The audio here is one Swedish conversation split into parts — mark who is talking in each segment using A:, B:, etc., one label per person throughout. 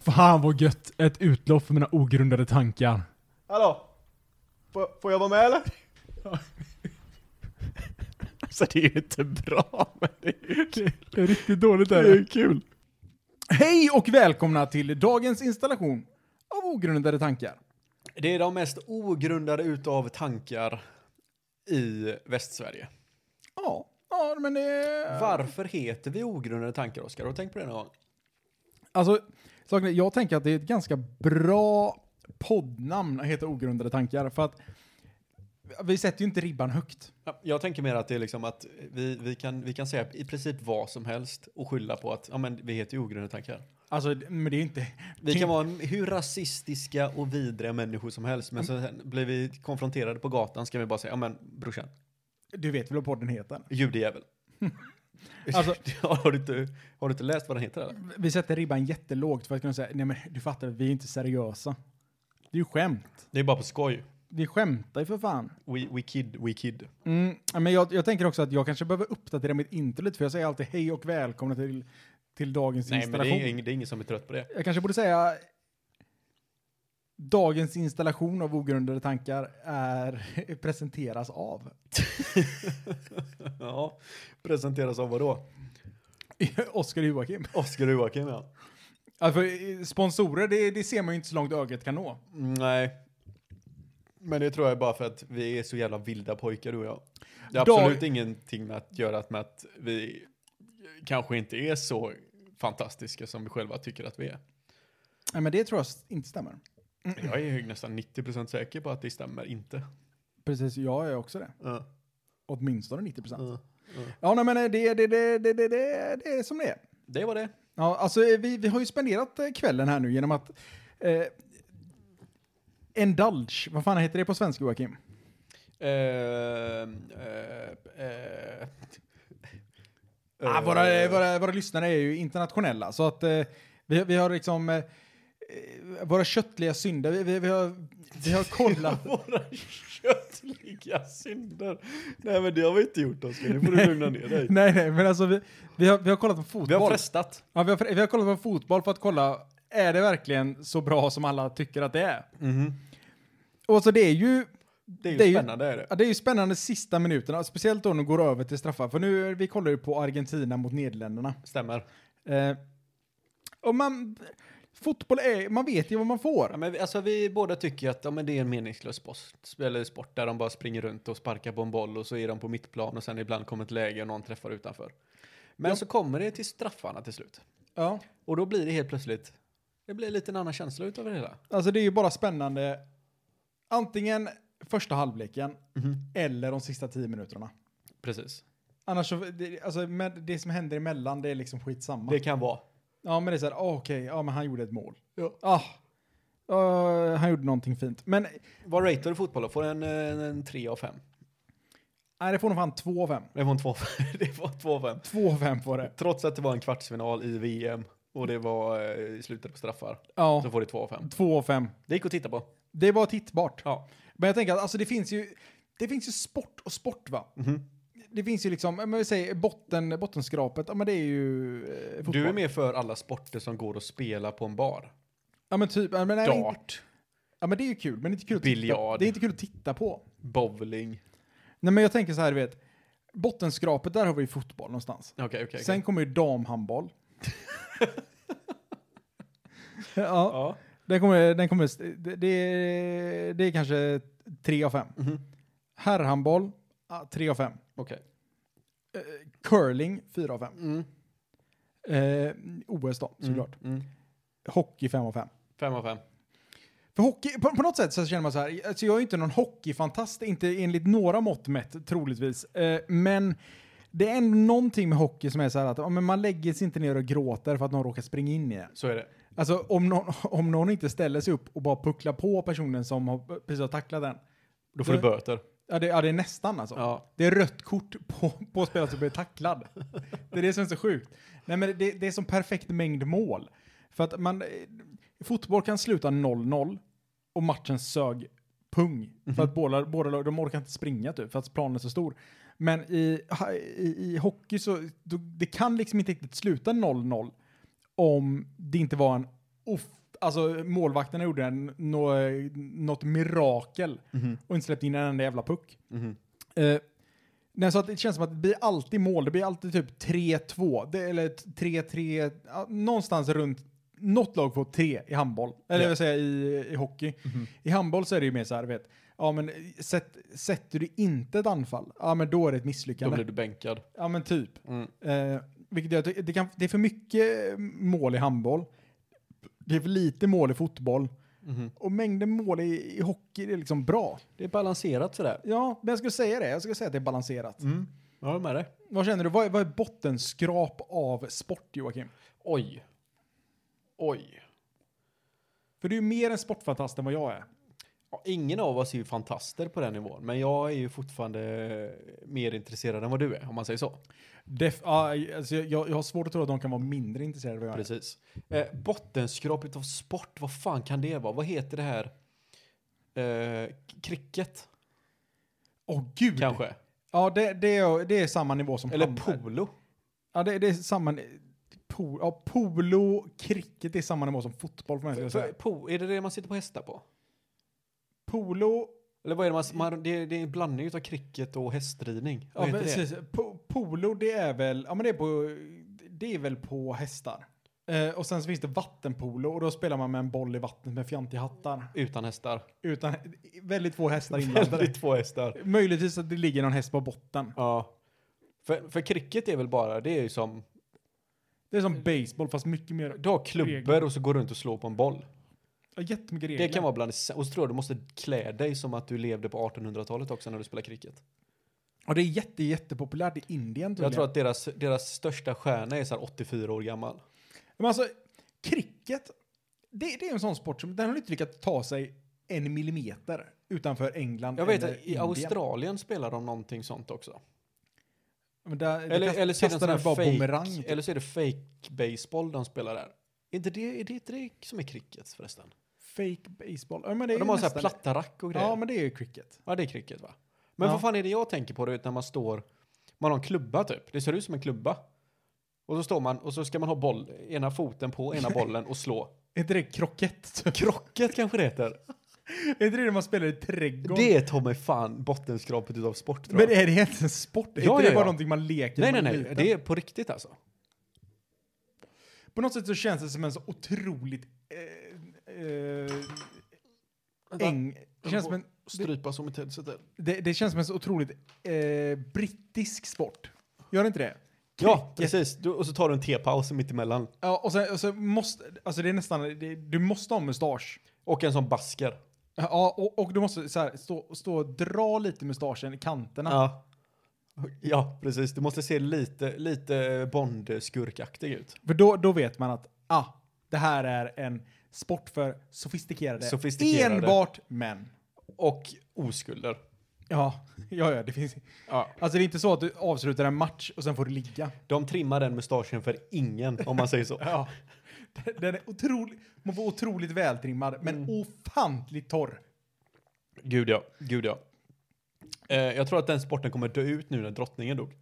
A: Fan vad gött! Ett utlopp för mina ogrundade tankar.
B: Hallå? Får, får jag vara med eller?
C: Alltså det är ju inte bra, men det är ju kul.
A: Det är riktigt dåligt
C: Det är ju kul.
A: Hej och välkomna till dagens installation av ogrundade tankar.
B: Det är de mest ogrundade utav tankar i Västsverige.
A: Ja, ja men det...
B: Varför heter vi ogrundade tankar, Oskar? Har du tänkt på det någon gång?
A: Alltså, saken är, jag tänker att det är ett ganska bra poddnamn att heta ogrundade tankar för att vi sätter ju inte ribban högt.
B: Ja, Jag tänker mer att det är liksom att vi, vi, kan, vi kan säga i princip vad som helst och skylla på att ja, men vi heter ju ogrundade tankar.
A: Alltså, men det är inte...
B: Vi
C: Typ.
B: kan vara hur rasistiska och vidriga människor som helst, men
C: Mm.
B: så sen blir vi konfronterade på gatan ska vi bara säga, ja men brorsan,
A: Du vet väl vad podden heter?
B: judejävel.
A: Alltså-
B: har, du inte, har du inte läst vad den heter eller?
A: Vi sätter ribban jättelågt för att kunna säga, nej men du fattar, vi är inte seriösa. Det är ju skämt.
B: Det är bara på skoj.
A: Vi skämtar ju för fan.
B: We, we kid, we kid.
A: Mm, men jag, jag tänker också att jag kanske behöver uppdatera mitt intro lite, för jag säger alltid hej och välkomna till, till dagens
B: Nej, men det
A: installation.
B: är, ing- det är ingen som är trött på det.
A: Jag kanske borde säga dagens installation av ogrundade tankar är presenteras av.
B: ja, presenteras av vadå?
A: Oskar Joakim.
B: Oskar och Joakim, ja.
A: Ja, för eh, sponsorer, det, det ser man ju inte så långt ögat kan nå.
B: Mm, Nej. Men det tror jag är bara för att vi är så jävla vilda pojkar du och jag. Det har
A: Dag-
B: absolut ingenting med att göra med att vi kanske inte är så fantastiska som vi själva tycker att vi är.
A: Nej, men det tror jag s- inte stämmer.
B: Jag är ju nästan 90% säker på att det stämmer inte.
A: Precis, jag är också det.
B: Uh,
A: Åtminstone 90 procent.
B: uh.
A: Ja, nej, men eh, det, det, det, det, det, det, det är som det är.
B: Det var det.
A: Ja, alltså eh, vi, vi har ju spenderat eh, kvällen här nu genom att eh, Endulge, vad fan heter det på svenska Joakim?
B: Eh, eh, eh.
A: Ah, våra, våra, våra lyssnare är ju internationella så att eh, vi, vi har liksom eh, eh, våra köttliga synder, vi, vi, vi, har, vi har kollat.
B: Våra köttliga synder. Nej men det har vi inte gjort Oskar, nu får du lugna ner dig.
A: nej, nej, men alltså vi, vi, har, vi har kollat på fotboll.
B: Vi har frestat.
A: ja, vi, har, fre- vi har kollat på fotboll för att kolla, är det verkligen så bra som alla tycker att det är?
B: Mhm.
A: Och så det är ju...
B: Det är ju
A: Det är ju-
B: spännande är det.
A: Ja, det är ju spännande sista minuterna, speciellt då när de går över till straffar. För nu, vi kollar ju på Argentina mot Nederländerna.
B: Stämmer.
A: Eh, och man, fotboll är, man vet ju vad man
B: Ja,
A: får.
B: men vi, alltså, vi båda tycker att ja, men det är en meningslös sport, eller sport där de bara springer runt och sparkar på en boll och så är de på mittplan och sen ibland kommer ett läge och någon träffar utanför. Men så kommer det till straffarna till slut.
A: Ja.
B: Och då blir det helt plötsligt, det blir lite en annan känsla utav det hela.
A: Alltså det är ju bara spännande, antingen första halvleken
B: Mhm.
A: eller de sista tio minuterna.
B: Precis.
A: Annars så, det, alltså med det som händer emellan, det är liksom skitsamma.
B: Det kan vara.
A: Ja, men det är så här, ah, okej, ja men han gjorde ett mål.
B: Ja.
A: Ah, eh, han gjorde någonting fint. Men,
B: Vad ratear du fotboll då? Får en, en, en 3 av 5?
A: nej det får nog fan två av fem.
B: Det var en 2 Det var 2 av 5.
A: Två av fem får det.
B: Trots att det var en kvartsfinal i VM och det var eh, slutet på straffar
A: Ja,
B: så får det 2 av 5.
A: två av fem.
B: Det gick att titta på.
A: Det var tittbart.
B: Ja.
A: Men jag tänker att alltså, det, finns ju, det finns ju sport och sport va?
B: Mhm.
A: Det finns ju liksom, men vi säger botten, bottenskrapet, ja men det är ju eh, fotboll.
B: Du är mer för alla sporter som går att spela på en bar.
A: Ja men typ, ja men, nej, det är inte,
B: Dart,
A: ja, men det är ju kul. Men det är inte kul att titta,
B: Biljard.
A: det är inte kul att titta på.
B: bowling.
A: Nej men jag tänker så här, du vet. Bottenskrapet, där har vi ju fotboll någonstans.
B: Okej, okej. okej.
A: Sen kommer ju damhandboll. ja,
B: Ja.
A: Den kommer, den kommer, det, det, är- det är kanske tre av fem.
B: Mhm.
A: Herrhandboll, ja, tre av fem.
B: Okej.
A: Eh, curling, 4 av 5.
B: Mm,
A: Eh, OS då,
B: mm,
A: såklart.
B: mm.
A: Hockey 5 av 5.
B: Fem av fem.
A: För hockey, på, på något sätt så känner man så här, alltså jag är ju inte någon hockeyfantast, inte enligt några mått mätt troligtvis. Eh, men det är ändå någonting med hockey som är så här att ja, men man lägger sig inte ner och gråter för att någon råkar springa in i en.
B: Så är det.
A: Alltså om någon, om någon inte ställer sig upp och bara pucklar på personen som har, precis har tacklat den.
B: Då får du
A: Det-
B: böter.
A: Ja det, ja, det är nästan alltså.
B: Ja.
A: Det är rött kort på, på spelare som blir tacklad. Det är det som är så sjukt. Nej, men det, det är som perfekt mängd mål. För att man, eh, fotboll kan sluta 0-0 och matchen sög pung. För att båda, båda lag- de orkar inte springa typ, för att planen är så stor. Men i, ha- i, i hockey så, då, det kan liksom inte riktigt sluta 0-0 om det inte var en Och f- alltså målvakterna gjorde en, nå, något mirakel och inte släppte in en enda jävla puck.
B: Mhm.
A: Eh, nej, så att det känns som att det blir alltid mål. Det blir alltid typ 3-2. Det, eller 3-3. ja, Någonstans runt. Något lag får tre i handboll. Eller jag vill säga i, i hockey. I handboll så är det ju mer så här, vet. Ja, men sätt, sätter du inte ett anfall, ja men då är det ett
B: Då
A: misslyckande.
B: blir du bänkad.
A: Ja men typ.
B: Mm.
A: Eh, vilket jag tycker, det, kan, det är för mycket mål i handboll. Det är för lite mål i fotboll.
B: mhm.
A: Och mängden mål i, i hockey det är liksom bra.
B: Det är balanserat sådär.
A: Ja, men jag skulle säga det. Jag skulle säga att det är balanserat.
B: Jag håller med dig.
A: Vad känner du? Vad är, vad är bottenskrap av sport, Joakim?
B: Oj. Oj.
A: För du är mer en sportfantast än vad jag är.
B: Ja, ingen av oss är ju fantaster på den nivån, men jag är ju fortfarande mer intresserad än vad du är, om man säger så.
A: Def, ja, alltså jag, jag jag har svårt att tro att de kan vara mindre intresserade än vad jag är.
B: Precis. Eh, bottenskrapet av sport, vad fan kan det vara? Vad heter det här? Eh, cricket,
A: Åh gud!
B: kanske?
A: Ja, det, det, är, det är samma nivå som
B: Eller
A: handboll.
B: polo?
A: Ja, det, det är samma... Po, ja, polo, cricket är samma nivå som fotboll för mig. skulle jag
B: För,
A: säga.
B: po, är det det man sitter på hästar på?
A: Polo...
B: Eller vad är det man... man det, det är en blandning av cricket och hästridning.
A: Ja,
B: Vad heter det?
A: precis. Po, polo, det är väl... Ja, men det är på... Det är väl på hästar. Eh, och sen så finns det vattenpolo och då spelar man med en boll i vattnet med fjantiga hattar.
B: Utan hästar.
A: Utan väldigt få hästar inblandade.
B: Väldigt två hästar.
A: Möjligtvis att det ligger någon häst på botten.
B: Ja. För, för cricket är väl bara, det är ju som...
A: Det är som baseball fast mycket mer...
B: Du har klubbor och så går du runt och slår på en boll.
A: Ja, jättemycket regler.
B: Det kan vara bland det sä- Och så tror jag du måste klä dig som att du levde på 1800-talet också när du spelar cricket.
A: Och det är jätte, jättepopulärt i Indien
B: Jag tror att deras, deras största stjärna är så här 84 år gammal.
A: Men alltså, cricket, det, det är en sån sport som den har inte lyckats ta sig en millimeter utanför England.
B: Jag vet
A: eller
B: att i
A: Indien.
B: Australien spelar de någonting sånt också.
A: Men där, eller,
B: Eller,
A: kast,
B: eller, så är det en
A: kastar
B: sån här
A: den bara typ. bumerang.
B: fake, eller så är det fake baseball de spelar där. Är inte det, är det inte det som är cricket förresten?
A: Fake baseball. Ja, men det är
B: Och de
A: ju
B: har så här
A: nästan-
B: platta rack och grejer.
A: Ja, men det är ju cricket.
B: Ja, det är cricket va? Men
A: Ja.
B: vad fan är det jag tänker på? Du vet när man står, man har en klubba typ. Det ser ut som en klubba. Och så står man och så ska man ha boll, ena foten på ena bollen och slå.
A: Är inte det krockett? typ?
B: Krocket kanske det heter.
A: är inte det när man spelar i trädgården?
B: Det är ta mig fan bottenskrapet utav sport tror
A: men
B: jag.
A: är det inte en sport? är inte
B: Ja, ja,
A: det bara
B: ja.
A: någonting man leker
B: Nej,
A: när
B: nej,
A: man är
B: nej.
A: liten?
B: Det är på riktigt alltså.
A: På något sätt så känns det som en så otroligt... Eh, eh,
B: Vänta.
A: äng... Det känns, som en,
B: Strypa som ett headset där.
A: det, det känns som en så otroligt eh, brittisk sport. Gör det inte det?
B: Ja, precis. Du, och så tar du en tepaus mitt emellan.
A: Ja, och sen, och sen måste, alltså det är nästan, det, du måste ha mustasch.
B: Och en sån basker.
A: Ja, och, och du måste så här, stå, stå och dra lite mustaschen i kanterna.
B: Ja. Ja, precis. Du måste se lite, lite Bond-skurkaktig ut.
A: För då, då vet man att, ah, det här är en sport för sofistikerade.
B: Sofistikerade.
A: Enbart män.
B: Och oskulder.
A: Ja, ja, ja, det finns.
B: Ja.
A: Alltså det är inte så att du avslutar en match och sen får du ligga.
B: De trimmar den mustaschen för ingen, om man säger så.
A: Ja. Den- Den är otroligt, man får otroligt vältrimmad, men
B: Mm.
A: ofantligt torr.
B: Gud ja, gud ja. Eh, jag tror att den sporten kommer dö ut nu när drottningen dog.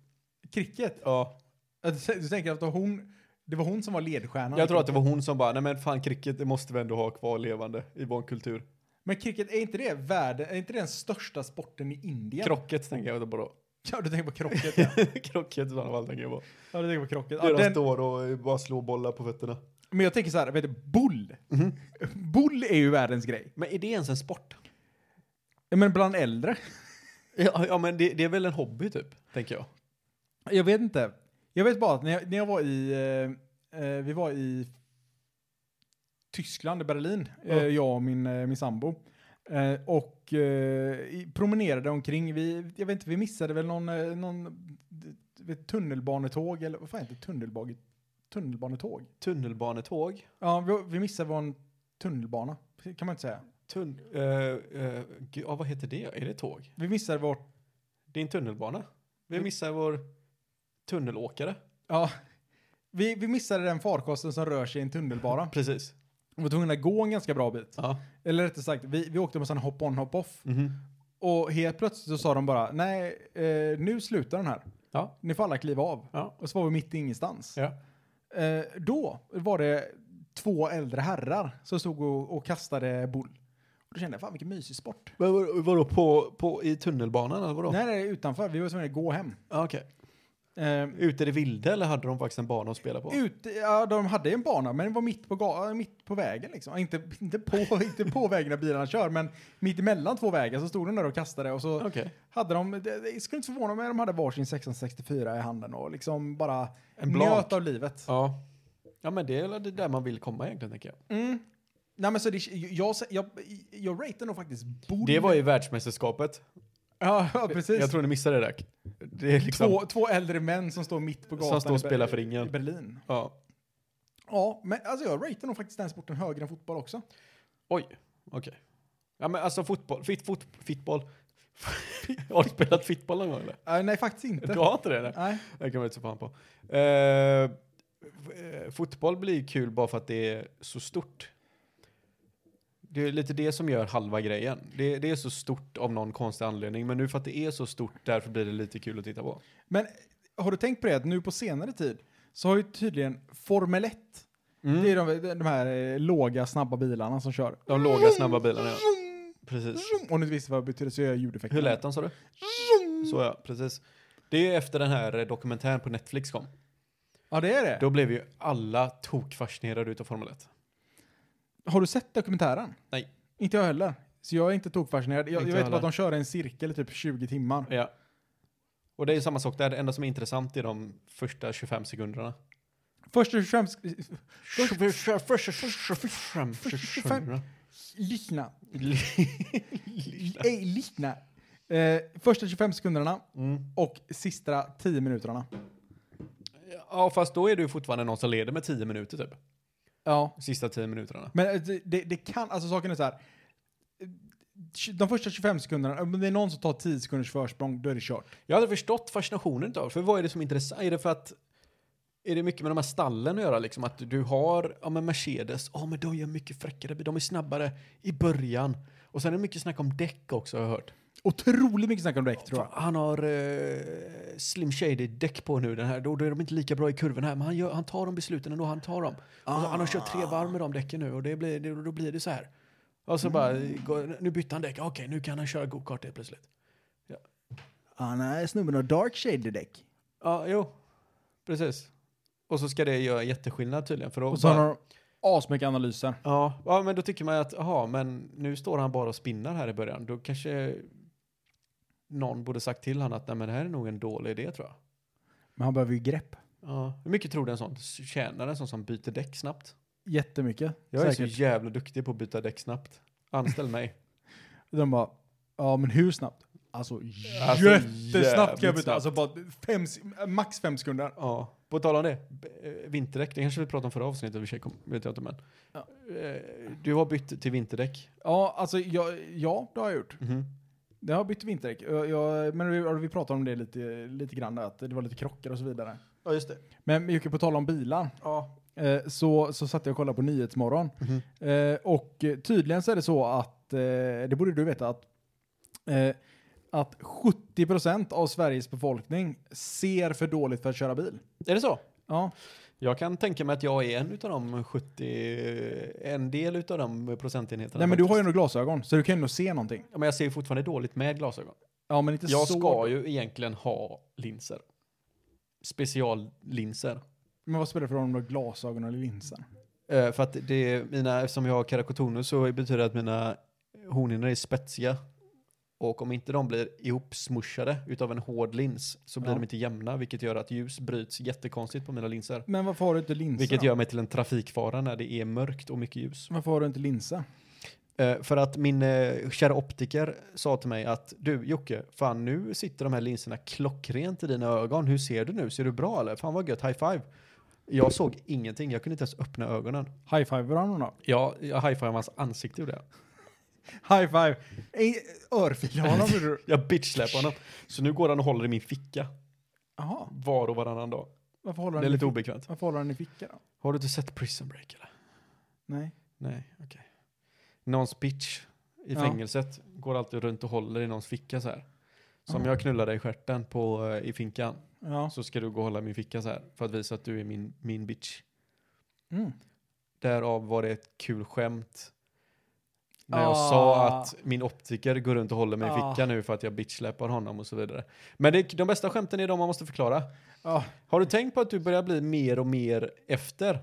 A: Cricket?
B: Ja.
A: Att- Du tänker att hon, det var hon som var ledstjärnan?
B: Jag tror att det var hon som bara, nej men fan cricket, det måste vi ändå ha kvar levande i vår kultur.
A: Men cricket, är inte det världen, är inte det den största sporten i Indien?
B: Krocket tänker jag på då.
A: ja, du tänker på krocket. Ja,
B: Krocket i sådana fall tänker jag på.
A: ja du tänker på krocket.
B: Där
A: Ja,
B: de
A: den,
B: står och bara slår bollar på fötterna.
A: men jag tänker så här, vet du, bull.
B: Mhm.
A: Bull är ju världens grej.
B: Men är det ens en sport?
A: Ja, Men bland äldre?
B: Ja, ja men det, det är väl en hobby typ, tänker jag.
A: Jag vet inte. Jag vet bara att när jag, när jag var i, eh, eh, vi var i Tyskland, i Berlin, eh, jag och min, eh, min sambo. Eh, och eh, i- promenerade omkring, vi, jag vet inte, vi missade väl någon, eh, någon d- d- vet, tunnelbanetåg eller vad fan heter det? tunnelbag, tunnelbanetåg?
B: Tunnelbanetåg.
A: Ja, vi, vi missade var en tunnelbana, kan man inte säga.
B: Tun eh, eh, gud, ja, vad heter det? Är det tåg?
A: Vi missade vårt,
B: Det är en tunnelbana. Vi missar vår tunnelåkare.
A: ja, vi, vi missade den farkosten som rör sig i en tunnelbana.
B: Precis.
A: Vi var tvungna att gå en ganska bra bit.
B: Ja.
A: Eller rättare sagt, vi, vi åkte med sån hop on hop off.
B: Mhm.
A: Och helt plötsligt så sa de bara, nej, eh, nu slutar den här.
B: Ja.
A: Ni får alla kliva av.
B: Ja.
A: Och så var vi mitt i ingenstans.
B: ja.
A: Eh, då var det två äldre herrar som stod och, och kastade boll. Och då kände jag, fan vilken mysig sport.
B: Men var, vadå, på, på, i tunnelbanan eller vadå?
A: Nej, nej, utanför. Vi var tvungna att gå hem.
B: Ja, Okej.
A: Eh,
B: Ute i det vilda eller hade de faktiskt en bana att spela på?
A: Ut, ja, de hade en bana, men det var mitt på, ga- mitt på vägen. Liksom. Inte, inte, på, inte på vägen där bilarna kör, men mitt emellan två vägar så stod de där och kastade. Och så
B: Okej.
A: hade de, det, det skulle inte förvåna mig om de hade varsin 1664 i handen och liksom bara
B: En
A: njöt
B: blank.
A: av livet.
B: Ja. Ja men det är väl det där man vill komma egentligen tänker jag.
A: Mm. Nej, men så det, jag, jag, jag ratear nog faktiskt Bull.
B: Det var ju världsmästerskapet.
A: Ja, ja, precis.
B: Jag tror ni missade det Rack. Det är liksom...
A: två, två äldre män som står mitt på
B: Som
A: gatan
B: står och
A: i Ber-
B: spelar för
A: i
B: ringen.
A: Berlin.
B: Ja.
A: Ja, men alltså jag ratear nog faktiskt den sporten högre än fotboll också.
B: Oj, okej. Ja men alltså fotboll, fit, fot, fotboll. Har du spelat fotboll någon gång eller?
A: Eh, nej, faktiskt inte.
B: Du har inte det? Nej.
A: Nej.
B: Det kan man inte se fan på. Eh, f- eh, fotboll blir kul bara för att det är så stort. Det är lite det som gör halva grejen. Det, det är så stort av någon konstig anledning, men nu för att det är så stort, därför blir det lite kul att titta på.
A: Men har du tänkt på det att nu på senare tid så har ju tydligen Formel 1, det är de, de här eh, låga snabba bilarna som kör.
B: Mm.
A: Mm.
B: De låga snabba bilarna, ja. Precis.
A: Om du inte visste vad det betyder så gör jag ljudeffekten.
B: Hur lät den sa du? Så ja, precis. Det är ju efter den här eh, dokumentären på Netflix kom.
A: Ja, det är det.
B: Då blev ju alla tokfascinerade utav Formel 1.
A: Har du sett dokumentären?
B: Nej.
A: Inte jag heller. Så jag är inte tokfascinerad. Jag, jag
B: Inte jag
A: vet bara
B: heller.
A: att de kör i en cirkel i typ 20 timmar.
B: Ja. Och det är ju samma sak där, det enda som är intressant är de första 25 sekunderna.
A: Först och främst, lyssna. Ej, lyssna. Eh, första 25 sekunderna
B: Mm.
A: och sista 10 minuterna.
B: Ja, fast då är det ju fortfarande någon som leder med 10 minuter typ.
A: Ja.
B: Sista 10 minuterna.
A: Men eh, det, det- det kan, alltså saken är så här. eh, De första 25 sekunderna, om det är någon som tar 10 sekunders försprång, då är det kört.
B: Jag hade förstått fascinationen utav det, för vad är det som är intressant? Är det för att är det mycket med de här stallen att göra? Liksom att du har, ja men Mercedes, ja men de gör mycket fräckare, de är snabbare i början. Och sen är det mycket snack om däck också har jag hört.
A: Otroligt mycket snack om däck tror jag.
B: Han har eh, slim shady däck på nu den här. Då, då är de inte lika bra i kurvorna här. Men han, gör, han tar de besluten ändå. Han tar dem. Och så- han har kört tre varv med de däcken nu och det blir, det, då blir det så här. Och så bara,
A: Mm.
B: går, nu bytte han däck. Okej, nu kan han köra gokart helt plötsligt.
A: Ah, nej, snubben har dark shade däck.
B: Ja, jo. Precis. Och så ska det göra jätteskillnad tydligen. För då
A: Och så
B: bara,
A: har de asmycket analyser.
B: ja, ja, men då tycker man ju att, jaha, men nu står han bara och spinnar här i början. Då kanske någon borde sagt till honom att nej, men det här är nog en dålig idé tror jag.
A: Men han behöver ju grepp.
B: Ja. Hur mycket tror du en sån tjänar en sån som byter däck snabbt?
A: Jättemycket.
B: Jag är
A: säkert.
B: så jävla duktig på att byta däck snabbt. Anställ mig.
A: De bara, ja men hur snabbt? Alltså,
B: Alltså,
A: jättesnabbt kan jag
B: jävligt
A: byta. Alltså bara fem, se- max fem sekunder.
B: ja. På tal om det, b- eh, vinterdäck, det kanske vi pratade om förra avsnittet i och för sig, kom- vet jag inte men.
A: Ja.
B: Eh, Du har bytt till vinterdäck.
A: Ja, alltså jag, ja, det har jag gjort.
B: Mhm.
A: Det har bytt vinterdäck. Jag, jag, men vi, vi pratade om det lite, lite grann, där, att det var lite krockar och så vidare.
B: Ja, just det.
A: Men Jocke, på tal om bilar,
B: Ja.
A: eh, så, så satt jag och kollade på Nyhetsmorgon.
B: Mm-hmm.
A: Eh, och eh, tydligen så är det så att, eh, det borde du veta, att, eh, att 70% av Sveriges befolkning ser för dåligt för att köra bil.
B: Är det så?
A: Ja.
B: Jag kan tänka mig att jag är en utav de 70, en del utav de procentenheterna.
A: Nej men du har ju
B: faktiskt.
A: ändå glasögon, så du kan ju ändå se någonting.
B: Ja, men jag ser ju fortfarande dåligt med glasögon.
A: Ja men inte
B: Jag
A: så.
B: ska ju egentligen ha linser. Speciallinser.
A: Men vad spelar det för roll om du har glasögon eller linser?
B: Eh, för att det är mina, eftersom jag har keratokonus så betyder det att mina hornhinnor är spetsiga. Och om inte de blir ihopsmushade utav en hård lins så blir
A: Ja.
B: de inte jämna vilket gör att ljus bryts jättekonstigt på mina linser.
A: Men varför har du inte linser?
B: Vilket
A: då?
B: gör mig till en trafikfara när det är mörkt och mycket ljus.
A: Varför har du inte linser?
B: Eh, för att min eh, kära optiker sa till mig att du Jocke, fan nu sitter de här linserna klockrent i dina ögon. Hur ser du nu? Ser du bra eller? Fan vad gött, high five. Jag såg ingenting, jag kunde inte ens öppna ögonen.
A: High five varandra då.
B: Ja, jag high five hans ansikte gjorde jag.
A: High five. Ej, Örfila honom. gjorde du.
B: Jag bitchsläpar honom. Så nu går han och håller i min ficka
A: Jaha,
B: var och varannan dag.
A: varför håller
B: Det är
A: han, i,
B: lite obekvämt.
A: varför håller han i fickan då?
B: Har du inte sett Prison Break eller?
A: Nej.
B: Nej, okej. Någons bitch i
A: Ja.
B: fängelset går alltid runt och håller i någons ficka så här. Som
A: Ja.
B: jag knullar dig i stjärten på, eh, i finkan
A: Ja.
B: så ska du gå och hålla i min ficka så här för att visa att du är min, min bitch.
A: Mm.
B: Därav var det ett kul skämt. När jag
A: Ah.
B: sa att min optiker går runt och håller mig i
A: Ah.
B: fickan nu för att jag bitchsläpar honom och så vidare. Men det, de bästa skämten är de man måste förklara.
A: Ja,
B: Har du tänkt på att du börjar bli mer och mer efter?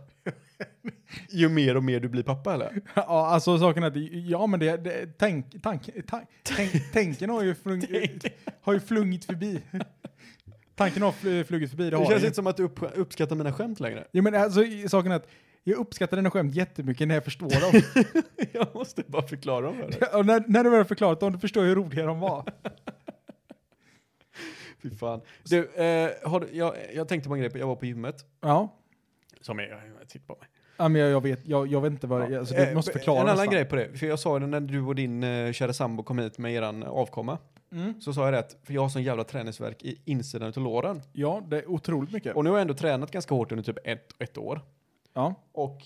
B: ju mer och mer du blir pappa eller?
A: ja, alltså saken är att, ja men det, det tänk, tank, tank, tänk, tänken har ju, flung, har ju flungit förbi. Tanken har fl- flugit förbi, det
B: Det
A: har
B: känns
A: den ju.
B: inte som att du upp, uppskattar mina skämt längre.
A: Jo men alltså i- saken är att jag uppskattar dina skämt jättemycket när jag förstår dem.
B: jag måste bara förklara dem för dig.
A: och när, när du väl har förklarat dem, du förstår hur roliga de var.
B: Fy fan. Du, eh, har, du- jag, jag tänkte på en grej, jag var på gymmet.
A: Ja,
B: Som jag, titta på mig.
A: ja men jag, jag vet, jag, jag vet inte vad, jag- alltså, du
B: Eh,
A: måste
B: b-
A: förklara
B: En annan
A: nästan.
B: grej på det, för jag sa ju det när du och din eh, kära sambo kom hit med eran avkomma.
A: Mm.
B: Så sa jag det att, för jag har sån jävla träningsvärk i insidan av låren.
A: Ja, det är otroligt mycket.
B: Och nu har jag ändå tränat ganska hårt under typ ett, ett år.
A: ja,
B: Och,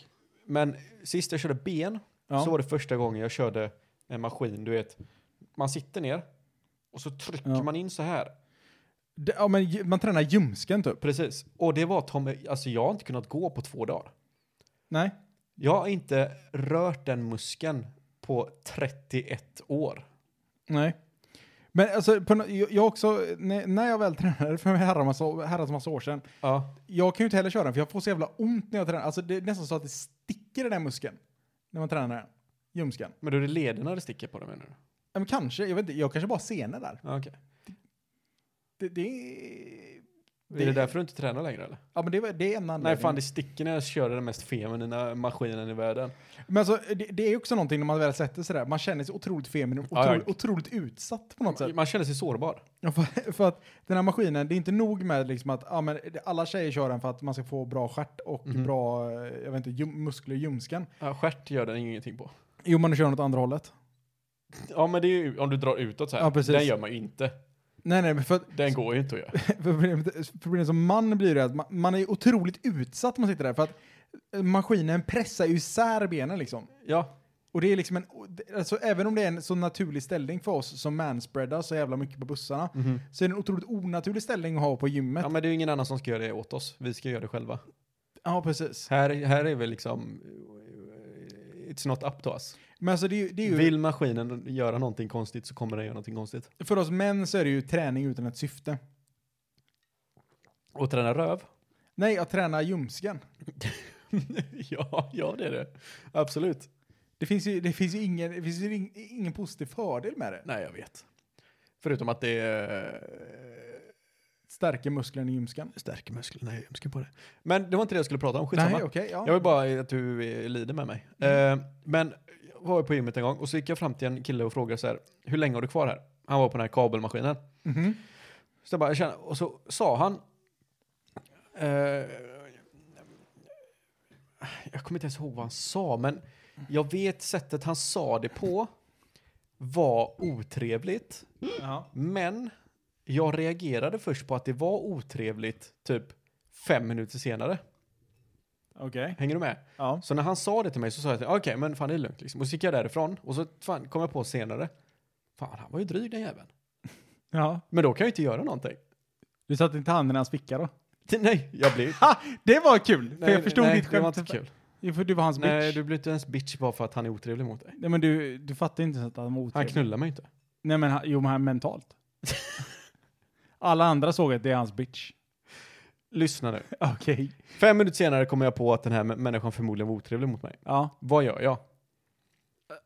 B: men sist jag körde ben
A: ja.
B: så var det första gången jag körde en maskin, du vet. Man sitter ner och så trycker
A: Ja.
B: man in så här.
A: Det, ja men j- man tränar ljumsken typ.
B: Precis. Och det var Tommy, alltså jag har inte kunnat gå på två dagar.
A: Nej.
B: Jag har inte rört den muskeln på 31 år.
A: Nej. Men alltså, på, nå- jag jag också, när, när jag väl tränade för herrans massa, herrans massa år sedan,
B: Ja.
A: jag kan ju inte heller köra den för jag får så jävla ont när jag tränar. Alltså det är nästan så att det sticker i den där muskeln. När man tränar den. Ljumsken.
B: Men då är det lederna det sticker på det menar du?
A: Ja, men kanske, jag vet inte, jag kanske bara scener där.
B: Ja, okej.
A: Det, det är...
B: Är det därför du inte tränar längre eller?
A: Ja men det, var- det är en
B: Nej
A: anledning.
B: fan det sticker när jag kör den mest feminina maskinen i världen.
A: Men alltså det, det är ju också någonting när man väl sätter sig där, man känner sig otroligt feminin,
B: Ja, ja.
A: otroligt, otroligt utsatt på något sätt.
B: Man känner sig sårbar.
A: Ja, För, för att den här maskinen, det är inte nog med liksom att ja, men det- alla tjejer kör den för att man ska få bra stjärt och
B: Mhm.
A: bra eh, jag vet inte, ljum, muskler i ljumsken.
B: Ja, stjärt gör den ingenting på.
A: Jo, man kör den åt andra hållet.
B: Ja men det är ju om du drar utåt så här.
A: Ja, precis.
B: den gör man ju inte.
A: Nej, nej, men för, att-
B: Den går ju inte att göra.
A: för problemet- för problemet som man blir det att man, man är ju otroligt utsatt när man sitter där för att eh, maskinen pressar ju isär benen liksom.
B: Ja.
A: Och det är liksom en, o- det- alltså även om det är en så naturlig ställning för oss som manspreadar så jävla mycket på bussarna, så är det en otroligt onaturlig ställning att ha på gymmet.
B: Mhm. Ja men det är ju ingen annan som ska göra det åt oss. Vi ska göra det själva.
A: ja precis.
B: Här, här är vi liksom... It's not up to us.
A: Men alltså det är ju, det är ju
B: Vill maskinen göra någonting konstigt så kommer den göra någonting konstigt.
A: för oss män så är det ju träning utan ett syfte.
B: Och träna röv?
A: Nej, att träna ljumsken.
B: ja, ja det är det. Absolut.
A: Det finns ju, det finns ju, ingen, det finns ju ing- ingen positiv fördel med det.
B: Nej, jag vet. Förutom att det eh,
A: Stärker musklerna i ljumsken.
B: stärker musklerna. Nej, jag ska på det. Men det var inte det jag skulle prata om. Skitsamma.
A: Nej, okej, Mm. ja.
B: Jag vill bara att du eh, lider med mig. Eh, men jag var på gymmet en gång och så gick jag fram till en kille och frågade så här, hur länge har du kvar här? Han var på den här kabelmaskinen.
A: Mhm.
B: Så jag bara, jag känner, och så sa han... Eh, jag kommer inte ens ihåg vad han sa, men jag vet sättet han sa det på var otrevligt.
A: Ja.
B: Men jag reagerade först på att det var otrevligt typ fem minuter senare.
A: Okej.
B: Hänger du med?
A: Ja.
B: Så när han sa det till mig så sa jag till okej men fan det är lugnt liksom. Och så gick jag därifrån och så fan, kom jag på senare. Fan han var ju dryg den jäveln.
A: ja.
B: Men då kan jag ju inte göra någonting.
A: Du satte inte handen i hans ficka då?
B: Till- Nej, jag blev...
A: Ha! Det var kul! för
B: Nej,
A: jag förstod
B: nej,
A: ditt
B: Det var
A: skämt.
B: inte kul.
A: Jo, för du var hans
B: Nej,
A: bitch.
B: du blir inte ens bitch bara för att han är otrevlig mot dig.
A: Nej, men du, du fattar inte så att han var
B: Han
A: otrevlig.
B: knullar mig inte.
A: Nej, men han, jo, men han mentalt. Alla andra såg att det är hans bitch.
B: Lyssna nu.
A: Okej.
B: Fem minuter senare kommer jag på att den här mä- människan förmodligen var otrevlig mot mig.
A: Ja.
B: Vad gör jag?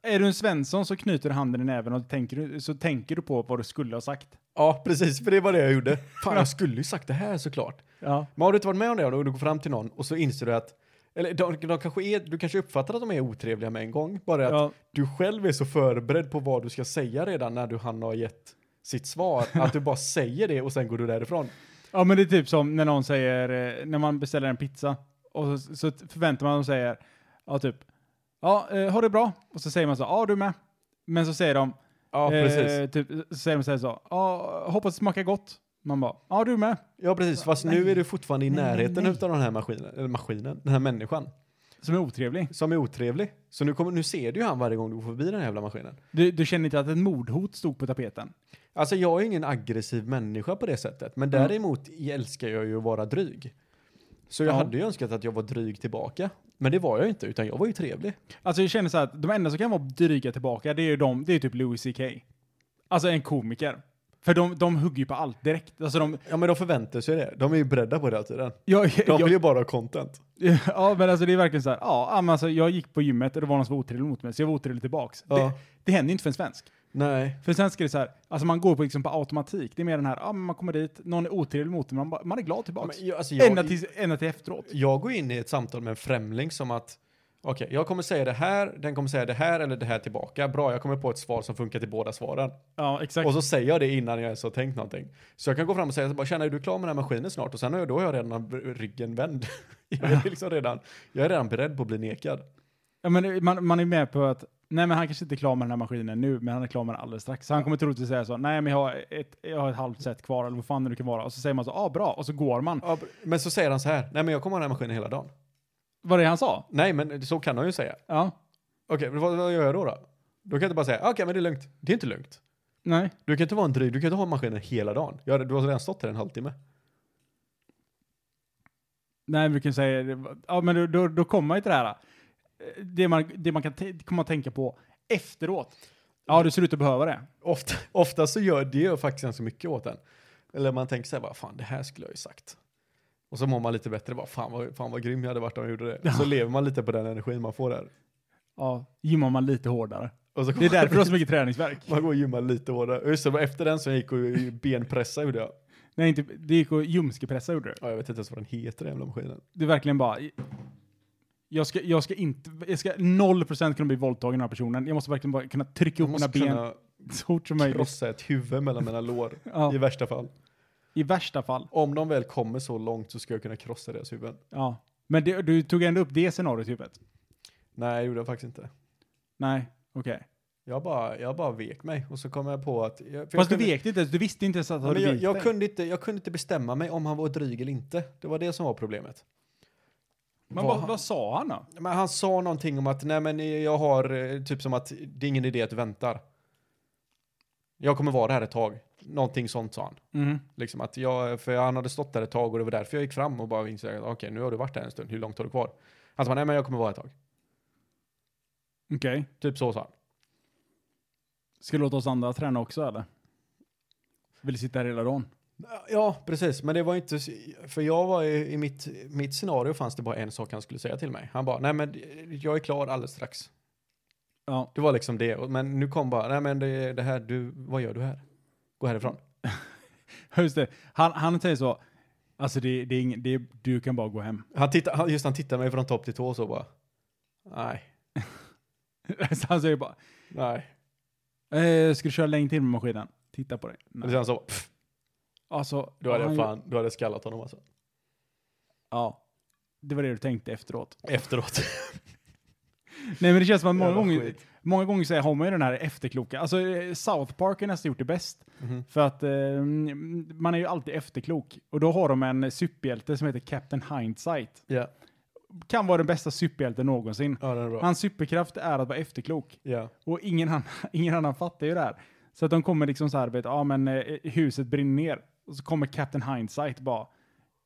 A: Är du en Svensson så knyter du handen i näven och tänker, du- så tänker du på vad du skulle ha sagt.
B: Ja, precis, för det var det jag gjorde. Fan, jag skulle ju sagt det här såklart.
A: Ja.
B: Men har du inte varit med om det och du går fram till någon och så inser du att, eller de, de kanske är, du kanske uppfattar att de är otrevliga med en gång, bara att
A: Ja.
B: du själv är så förberedd på vad du ska säga redan när du han har gett sitt svar, att du bara säger det och sen går du därifrån.
A: Ja men det är typ som när någon säger, eh, när man beställer en pizza och så, så förväntar man sig säger, ja typ, ja eh, ha det bra. Och så säger man så, ja du med. Men så säger de,
B: Ja, precis.
A: eh, typ, så säger de så, här så ja hoppas det smakar gott. Man bara, ja du med.
B: Ja, precis, fast nu är du fortfarande i
A: Nej, nej,
B: närheten
A: nej.
B: av den här maskinen, eller maskinen, den här människan,
A: Som är otrevlig.
B: som är otrevlig. Så nu, kommer, nu ser du ju han varje gång du går förbi den här jävla maskinen.
A: Du, du känner inte att ett mordhot stod på tapeten?
B: Alltså jag är ingen aggressiv människa på det sättet, men
A: Mm.
B: däremot älskar jag ju att vara dryg. Så jag
A: Ja.
B: hade ju önskat att jag var dryg tillbaka. Men det var jag inte, utan jag var ju trevlig.
A: Alltså jag känner så här att de enda som kan vara dryga tillbaka, det är ju de, det är typ Louis CK. Alltså en komiker. För de, de hugger ju på allt direkt. Alltså de,
B: Ja men de förväntar sig det. De är ju beredda på det hela tiden.
A: jag,
B: De
A: jag,
B: vill ju bara ha content.
A: Ja, men alltså det är verkligen så här. Ja, ja, men alltså jag gick på gymmet och det var någon som var otrevlig mot mig, så jag var otrevlig tillbaks.
B: Ja.
A: Det, det händer ju inte för en svensk.
B: Nej.
A: För en svensk är det så här, alltså man går på, liksom på automatik. Det är mer den här, ja men man kommer dit, någon är otrevlig mot en, man, bara- man är glad
B: Men,
A: tillbaks.
B: jag, alltså, jag,
A: ända, till, ända till efteråt.
B: jag går in i ett samtal med en främling som att okej, jag kommer säga det här, den kommer säga det här eller det här tillbaka. Bra, jag kommer på ett svar som funkar till båda svaren.
A: Ja, exakt.
B: Och så säger jag det innan jag ens har tänkt någonting. Så jag kan gå fram och säga så bara, tjena är du klar med den här maskinen snart? Och sen har jag, då har jag redan ryggen vänd. jag, är liksom redan, jag är redan beredd på att bli nekad.
A: Ja, men eh, man, man är med på att, nej men han kanske inte är klar med den här maskinen nu, men han är klar med den alldeles strax. Så han kommer troligtvis säga så, nej men jag har ett, jag har ett halvt set kvar, eller vad fan det nu kan vara. Och så säger man så, ah bra, och så går man.
B: Ja, men så säger han så här, nej men jag kommer ha den här maskinen hela dagen.
A: Vad är det han sa?
B: Nej men så kan han ju säga.
A: Ja,
B: Okej, men vad, vad gör jag då då? Då kan jag inte bara säga, okej men det är lugnt. Det är inte lugnt.
A: nej.
B: Du kan inte vara en dryg, du kan inte ha maskinen hela dagen. Jag, har- du har redan stått här en halvtimme.
A: Nej, vi kan säga, ja men då, då, då kommer man ju till det här. eh, Det man, det man kan t- komma att tänka på efteråt. Ja, du ser ut att behöva det.
B: Ofta, ofta så gör det gör faktiskt ganska mycket åt en. Eller man tänker så här, vad fan det här skulle jag ju sagt. Och så mår man lite bättre, bara, fan, vad, fan vad grym jag hade varit om jag gjorde det. Så lever man lite på den energin man får där.
A: Ja, gymmar man lite hårdare.
B: Och så
A: Det är därför du har så mycket träningsverk.
B: man går och gymmar lite hårdare. Och Just det, det, var efter den så jag gick och benpressa gjorde jag.
A: Nej, inte, det gick att ljumskepressa gjorde du.
B: Ja, jag vet inte ens vad den heter den jävla maskinen.
A: Det är verkligen bara... Jag ska, jag ska inte... Jag ska 0% kunna bli våldtagen av den här personen. Jag måste verkligen bara kunna trycka
B: Jag
A: upp mina
B: måste
A: ben
B: kunna
A: så hårt som möjligt.
B: krossa ett huvud mellan mina lår.
A: Ja,
B: I värsta fall.
A: I värsta fall.
B: Om de väl kommer så långt så ska jag kunna krossa deras huvuden.
A: Ja. Men det, du tog ändå upp det scenariot i huvudet?
B: Nej, jag gjorde jag faktiskt inte.
A: Nej, okej.
B: Jag bara, jag bara vek mig och så kom jag på att... Jag, för jag
A: Fast
B: kunde-
A: du vek inte ens, du visste inte ens att du
B: Ja,
A: hade
B: men jag,
A: vikt
B: jag,
A: dig.
B: kunde inte, jag kunde inte bestämma mig om han var dryg eller inte. Det var det som var problemet.
A: Men
B: Vad
A: vad,
B: han-
A: vad sa han då?
B: Men han sa någonting om att nej men eh, jag har eh, typ som att det är ingen idé att du väntar. Jag kommer vara här ett tag. Någonting sånt sa han.
A: Mm,
B: Liksom att jag, för han hade stått där ett tag och det var därför jag gick fram och bara insåg att okej nu har du varit här en stund, hur långt har du kvar? Han sa nej men jag kommer vara ett tag.
A: Okej.
B: Typ så sa han.
A: Ska du låta oss andra träna också eller? Vill sitta här hela dagen?
B: Ja, precis. Men det var inte... För jag var ju, i mitt, mitt scenario fanns det bara en sak han skulle säga till mig. Han bara, nej men jag är klar alldeles strax.
A: Ja.
B: Det var liksom det. Och- Men nu kom bara, nej men det, det här, du, vad gör du här? Gå härifrån.
A: Just det. Han, han säger så. Alltså det, det är ingen, det, är- du kan bara gå hem.
B: Han tittar, han, just han tittar mig från topp till tå och så bara, nej,
A: så han säger bara.
B: nej.
A: Eh, ska du köra länge till med maskinen? Titta på dig.
B: Och
A: Nej.
B: sen så, pff,
A: Alltså.
B: då hade jag
A: han-
B: fan, då hade jag skallat honom alltså.
A: Ja. Det var det du tänkte efteråt.
B: Efteråt.
A: Nej men det känns som att många
B: Jävla
A: gånger,
B: skit.
A: många gånger så har man ju den här efterkloka. Alltså eh, South Park har nästan gjort det bäst.
B: Mhm.
A: För att eh, man är ju alltid efterklok. Och då har de en superhjälte som heter Captain Hindsight.
B: Ja,
A: Kan vara den bästa superhjälten någonsin.
B: ja den är bra.
A: Hans superkraft är att vara efterklok.
B: Ja.
A: Och ingen annan, ingen annan fattar ju det här. Så att de kommer liksom så här, vet, ja men eh, huset brinner ner. Och så kommer Captain Hindsight bara,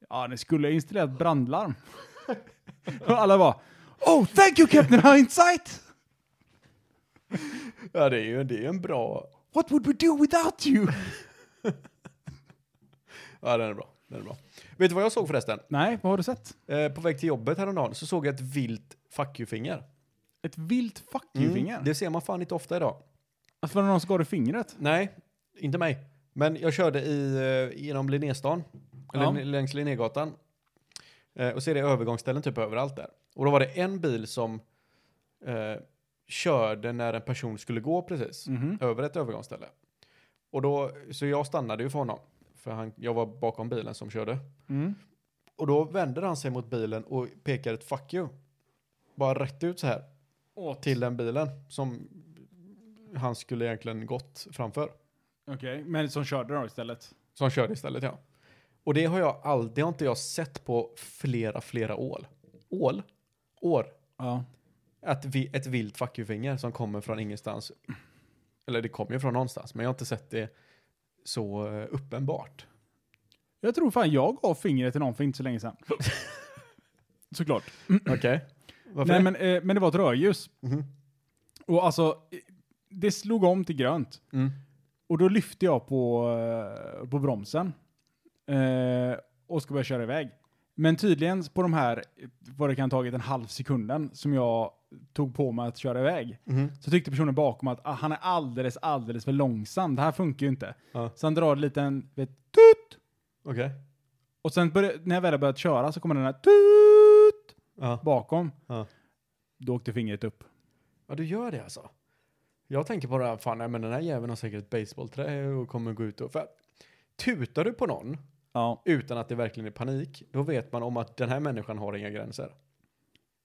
A: ja ni skulle ha installerat brandlarm. och alla bara, oh thank you Captain Hindsight!
B: ja, det är ju det är ju en bra,
A: What would we do without you?
B: ja den är bra, den är bra. Vet du vad jag såg förresten?
A: Nej, vad har du sett?
B: Eh, på väg till jobbet häromdagen så såg jag ett vilt fuck you-finger.
A: Ett vilt fuck you-finger?
B: Mm. Det ser man fan inte ofta idag.
A: Alltså var det någon som gav dig fingret?
B: Nej, inte mig. Men jag körde i, eh, genom Linnéstan, eller
A: Ja.
B: n- längs Linnégatan. Eh, och så är det övergångsställen typ överallt där. Och då var det en bil som eh, körde när en person skulle gå precis,
A: Mhm.
B: över ett övergångsställe. Och då, så jag stannade ju för honom, för han, jag var bakom bilen som körde.
A: Mm.
B: Och då vänder han sig mot bilen och pekar ett fuck you. Bara rätt ut så här till den bilen som han skulle egentligen gått framför.
A: Okej, men som körde då istället?
B: Som körde istället, ja. Och det har jag aldrig, det har inte jag sett på flera, flera år. Ål? År?
A: Ja.
B: Att vi, ett vilt fuck you-finger som kommer från ingenstans. Eller det kommer ju från någonstans, men jag har inte sett det så eh, uppenbart.
A: Jag tror fan jag gav fingret till någon för inte så länge sedan. såklart.
B: Okej. Varför
A: Nej,
B: det?
A: men, eh, men det var ett rödljus.
B: Mhm.
A: Och alltså, eh, det slog om till grönt.
B: Mm.
A: Och då lyfte jag på, eh, på bromsen. Eh, och ska börja köra iväg. Men tydligen på de här, eh, vad det kan ha tagit en halv sekunden, som jag tog på mig att köra iväg.
B: Mhm.
A: Så tyckte personen bakom att ah, han är alldeles, alldeles för långsam. Det här funkar ju inte.
B: Ja.
A: Så han drar en liten, vet, tut!
B: Okej.
A: Och sen började, när jag väl har börjat köra så kommer den här tut!
B: Ja.
A: Bakom.
B: Ja.
A: Då åkte fingret upp.
B: ja, du gör det alltså. Jag tänker på det här, fan nej, men den här jäveln har säkert ett basebollträ och kommer gå ut och... För, tutar du på någon
A: Ja.
B: utan att det verkligen är panik, då vet man om att den här människan har inga gränser.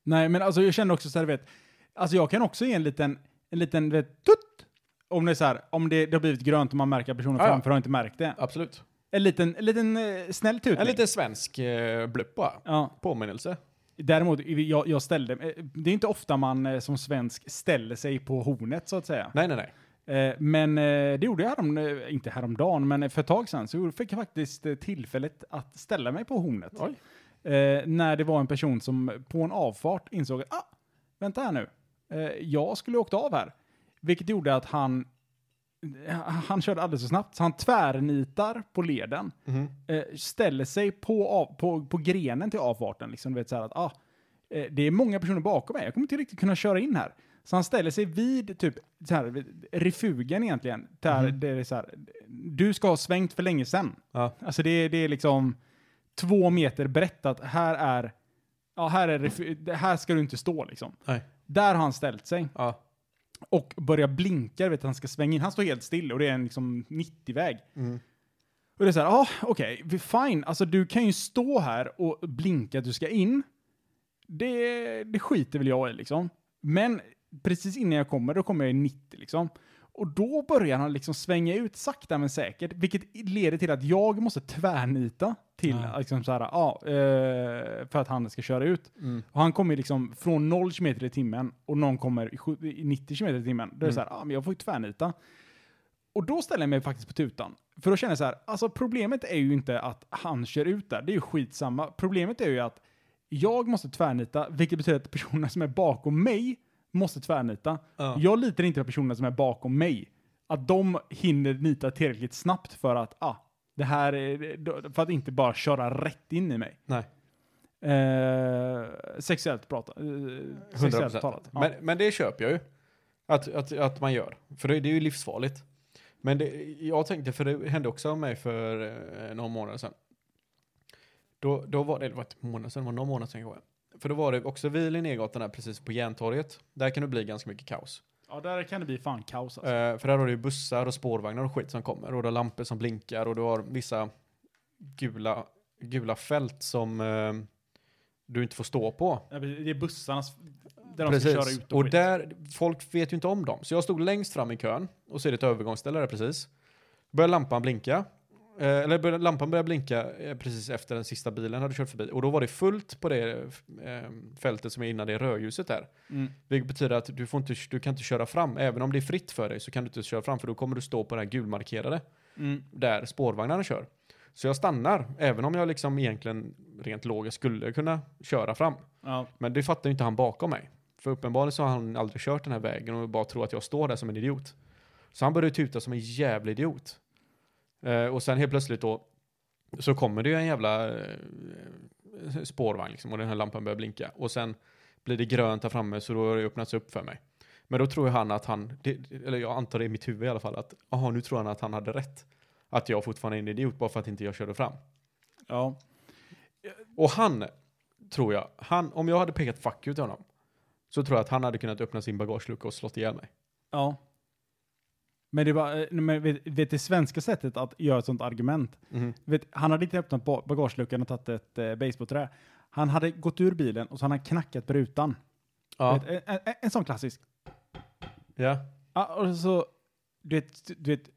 A: Nej, men alltså jag känner också så här, vet, alltså jag kan också ge en liten, en liten, vet, tutt. Om det är så här, om det, det har blivit grönt och man märker att personen
B: Ja, ja.
A: framför har inte märkt det.
B: Absolut.
A: En liten, en liten eh, snäll tutning.
B: En liten svensk eh, blupp bara.
A: Ja.
B: Påminnelse.
A: Däremot, jag, jag ställde, eh, det är inte ofta man eh, som svensk ställer sig på hornet så att säga.
B: Nej, nej, nej.
A: Eh, men eh, det gjorde jag härom, eh, inte häromdagen, men för ett tag sedan så gjorde- fick jag faktiskt eh, tillfället att ställa mig på hornet.
B: Oj.
A: Eh, när det var en person som på en avfart insåg att, ah, vänta här nu, eh, jag skulle ha åkt av här. Vilket gjorde att han, eh, han körde alldeles för snabbt, så han tvärnitar på leden,
B: Mm-hmm.
A: eh, ställer sig på, av, på, på grenen till avfarten, liksom, du vet så här att, ah, eh, det är många personer bakom mig, jag kommer inte riktigt kunna köra in här. Så han ställer sig vid typ så här, vid refugen egentligen, där det är så här, du ska ha svängt för länge sedan.
B: Ja.
A: Alltså det, är- det är liksom två meter brett att här är, ja här är refu- det, här ska du inte stå liksom.
B: Nej.
A: Där har han ställt sig
B: Ja.
A: och börjar blinka, du vet han ska svänga in. Han står helt still och det är en liksom 90-väg. Och det är så här, ja ah, okej, vi- fine, alltså du kan ju stå här och blinka att du ska in. Det, det skiter väl jag i liksom. Men precis innan jag kommer, då kommer jag i 90 liksom. Och då börjar han liksom svänga ut sakta men säkert, vilket leder till att jag måste tvärnita till liksom så här, ja, eh, för att han ska köra ut. Och han kommer ju liksom från 0 km i timmen och någon kommer i sju- i 90 km i timmen. Då är det så här, ja, men jag får ju tvärnita. Och då ställer jag mig faktiskt på tutan. För då känner jag så här, alltså problemet är ju inte att han kör ut där, det är ju skitsamma. Problemet är ju att jag måste tvärnita, vilket betyder att personerna som är bakom mig måste tvärnita.
B: Ja.
A: Jag litar inte på personerna som är bakom mig. Att de hinner nita tillräckligt snabbt för att, ah, det här är, för att inte bara köra rätt in i mig.
B: Nej.
A: Eh, sexuellt prata, eh,
B: 100
A: sexuellt talat. Ja.
B: Men, men det köper jag ju. Att, att, att man gör. För det, det är ju livsfarligt. Men det, jag tänkte, för det hände också med mig för eh, några månader sedan. Då, då var det, det var inte månader sedan, det var några månader sedan kanske. För då var det också vid Linnégatan här precis på Järntorget. Där kan det bli ganska mycket kaos.
A: ja, där kan det bli fan kaos alltså.
B: Eh, för där har du ju bussar och spårvagnar och skit som kommer. Och du har lampor som blinkar och du har vissa gula, gula fält som eh, du inte får stå på.
A: Ja, precis. Det är bussarnas, där de ska
B: Precis.
A: köra ut
B: och,
A: och, skit.
B: där, folk vet ju inte om dem. Så jag stod längst fram i kön och så är det ett övergångsställe där precis. Börjar lampan blinka. Eh, eller började, lampan började blinka eh, precis efter den sista bilen hade kört förbi. Och då var det fullt på det eh, fältet som är innan det rödljuset där.
A: Mm.
B: Vilket betyder att du, får inte, du kan inte köra fram. Även om det är fritt för dig så kan du inte köra fram för då kommer du stå på det här gulmarkerade
A: Mm.
B: där spårvagnarna kör. Så jag stannar, även om jag liksom egentligen rent logiskt skulle kunna köra fram.
A: Ja.
B: Men det fattar ju inte han bakom mig. För uppenbarligen så har han aldrig kört den här vägen och bara tror att jag står där som en idiot. Så han började tuta som en jävla idiot. Eh, och sen helt plötsligt då så kommer det ju en jävla eh, spårvagn liksom och den här lampan börjar blinka. Och sen blir det grönt där framme så då har det öppnats upp för mig. Men då tror ju han att han, det, eller jag antar det i mitt huvud i alla fall, att aha, nu tror han att han hade rätt. Att jag fortfarande är en idiot bara för att inte jag körde fram.
A: Ja.
B: Och han, tror jag, han, om jag hade pekat fuck you till honom, så tror jag att han hade kunnat öppna sin bagagelucka och slått ihjäl mig.
A: ja. Men det var, eh, men vet, vet det svenska sättet att göra ett sånt argument.
B: Mm-hmm.
A: Vet, han hade inte öppnat ba- bagageluckan och tagit ett eh, basebollträ. Han hade gått ur bilen och så hade han knackat på rutan.
B: Ja.
A: Vet, en, en, en sån klassisk.
B: ja.
A: Ja, och så, du vet, du vet,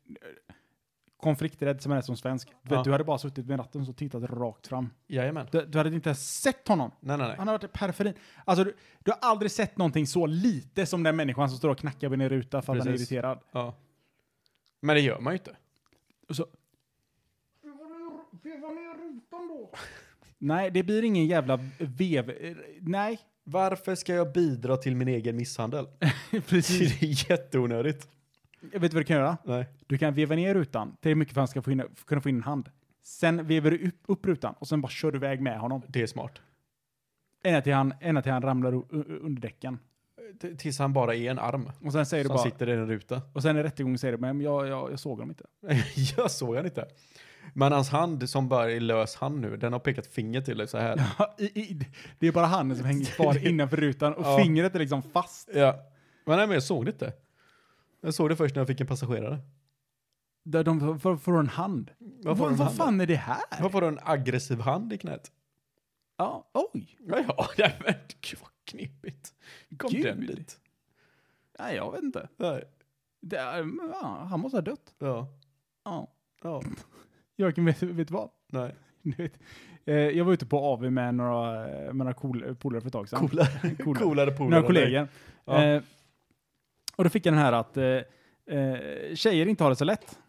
A: konflikträdd som man är som svensk. Du, vet,
B: Ja.
A: du hade bara suttit med ratten och tittat rakt fram.
B: Jajamän.
A: Du, du hade inte ens sett honom.
B: Nej, nej, nej.
A: Han har varit i periferin. Alltså, du, du har aldrig sett någonting så lite som den människan som står och knackar på din ruta för att han är
B: Precis.
A: irriterad.
B: Ja. Men det gör man ju inte.
A: Och så... Peva ner rutan då! Nej, det blir ingen jävla vev... Nej,
B: Varför ska jag bidra till min egen misshandel? Det
A: precis.
B: är jätteonödigt.
A: Jag vet vad du kan göra?
B: Nej.
A: Du kan veva ner rutan tillräckligt mycket för att han ska få in, kunna få in en hand. Sen vevar du upp, upp rutan och sen bara kör du iväg med honom.
B: Det är smart.
A: Ända till han, ända till han ramlar u- u- under däcken.
B: T- tills han bara är en arm
A: Och sen säger du
B: som
A: bara...
B: sitter i en ruta.
A: Och sen i rättegången säger du men jag, jag, jag såg honom inte.
B: jag såg han inte. Men hans hand som bara är lös hand nu, den har pekat finger till dig så här.
A: Ja, i, i, det är bara handen som hänger kvar innanför rutan och
B: Ja.
A: fingret är liksom fast.
B: Ja. Men nej, men jag såg det inte. Jag såg det först när jag fick en passagerare.
A: Där de får, får en hand.
B: Vad får
A: Va-
B: de en
A: vad
B: hand
A: fan är det här?
B: Varför har du en aggressiv hand i knät?
A: Ja, oj.
B: Ja, ja, nej men gud vad knepigt. Kom
A: Gud.
B: den dit?
A: Nej, jag vet inte.
B: Nej.
A: Det är, ja, han måste ha dött.
B: Ja.
A: Ja.
B: Ja.
A: Jörgen, vet, vet du vad?
B: Nej.
A: Du vet, eh, jag var ute på AV med några, eh, med några cool, polare för ett tag sedan.
B: Coolare,
A: Coolare.
B: coolare polare.
A: några kollegor.
B: Ja.
A: Eh, och då fick jag den här att eh, eh, tjejer inte har det så lätt.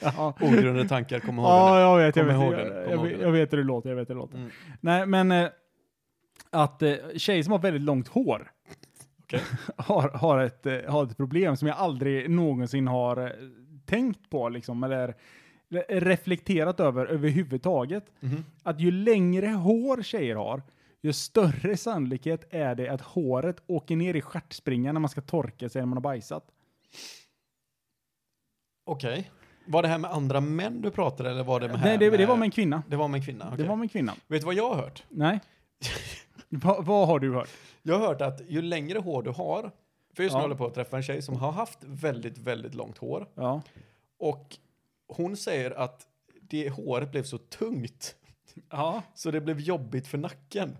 A: ja.
B: Ogrundade tankar, kom ihåg
A: Ja,
B: det.
A: jag vet. Jag
B: Kom
A: vet,
B: ihåg
A: jag,
B: den.
A: jag,
B: Kom
A: jag,
B: ihåg
A: vet-
B: den.
A: jag vet hur det låter. Jag vet hur det låter.
B: Mm.
A: Nej, men eh, att eh, tjejer som har väldigt långt hår
B: Okej.
A: har, har, ett, eh, har ett problem som jag aldrig någonsin har eh, tänkt på liksom, eller re- reflekterat över överhuvudtaget.
B: Mhm.
A: Att ju längre hår tjejer har, ju större sannolikhet är det att håret åker ner i stjärtspringan när man ska torka sig när man har bajsat.
B: Okej. Var det här med andra män du pratade eller var det med...
A: Eh, Nej, det, det var med en kvinna.
B: Det var med en kvinna, okej.
A: Det var med en kvinna.
B: Vet du vad jag har hört?
A: Nej. Va, vad har du hört?
B: Jag har hört att ju längre hår du har, för just nu
A: Ja.
B: håller jag på att träffa en tjej som har haft väldigt, väldigt långt hår.
A: Ja.
B: Och hon säger att det håret blev så tungt
A: Ja.
B: så det blev jobbigt för nacken.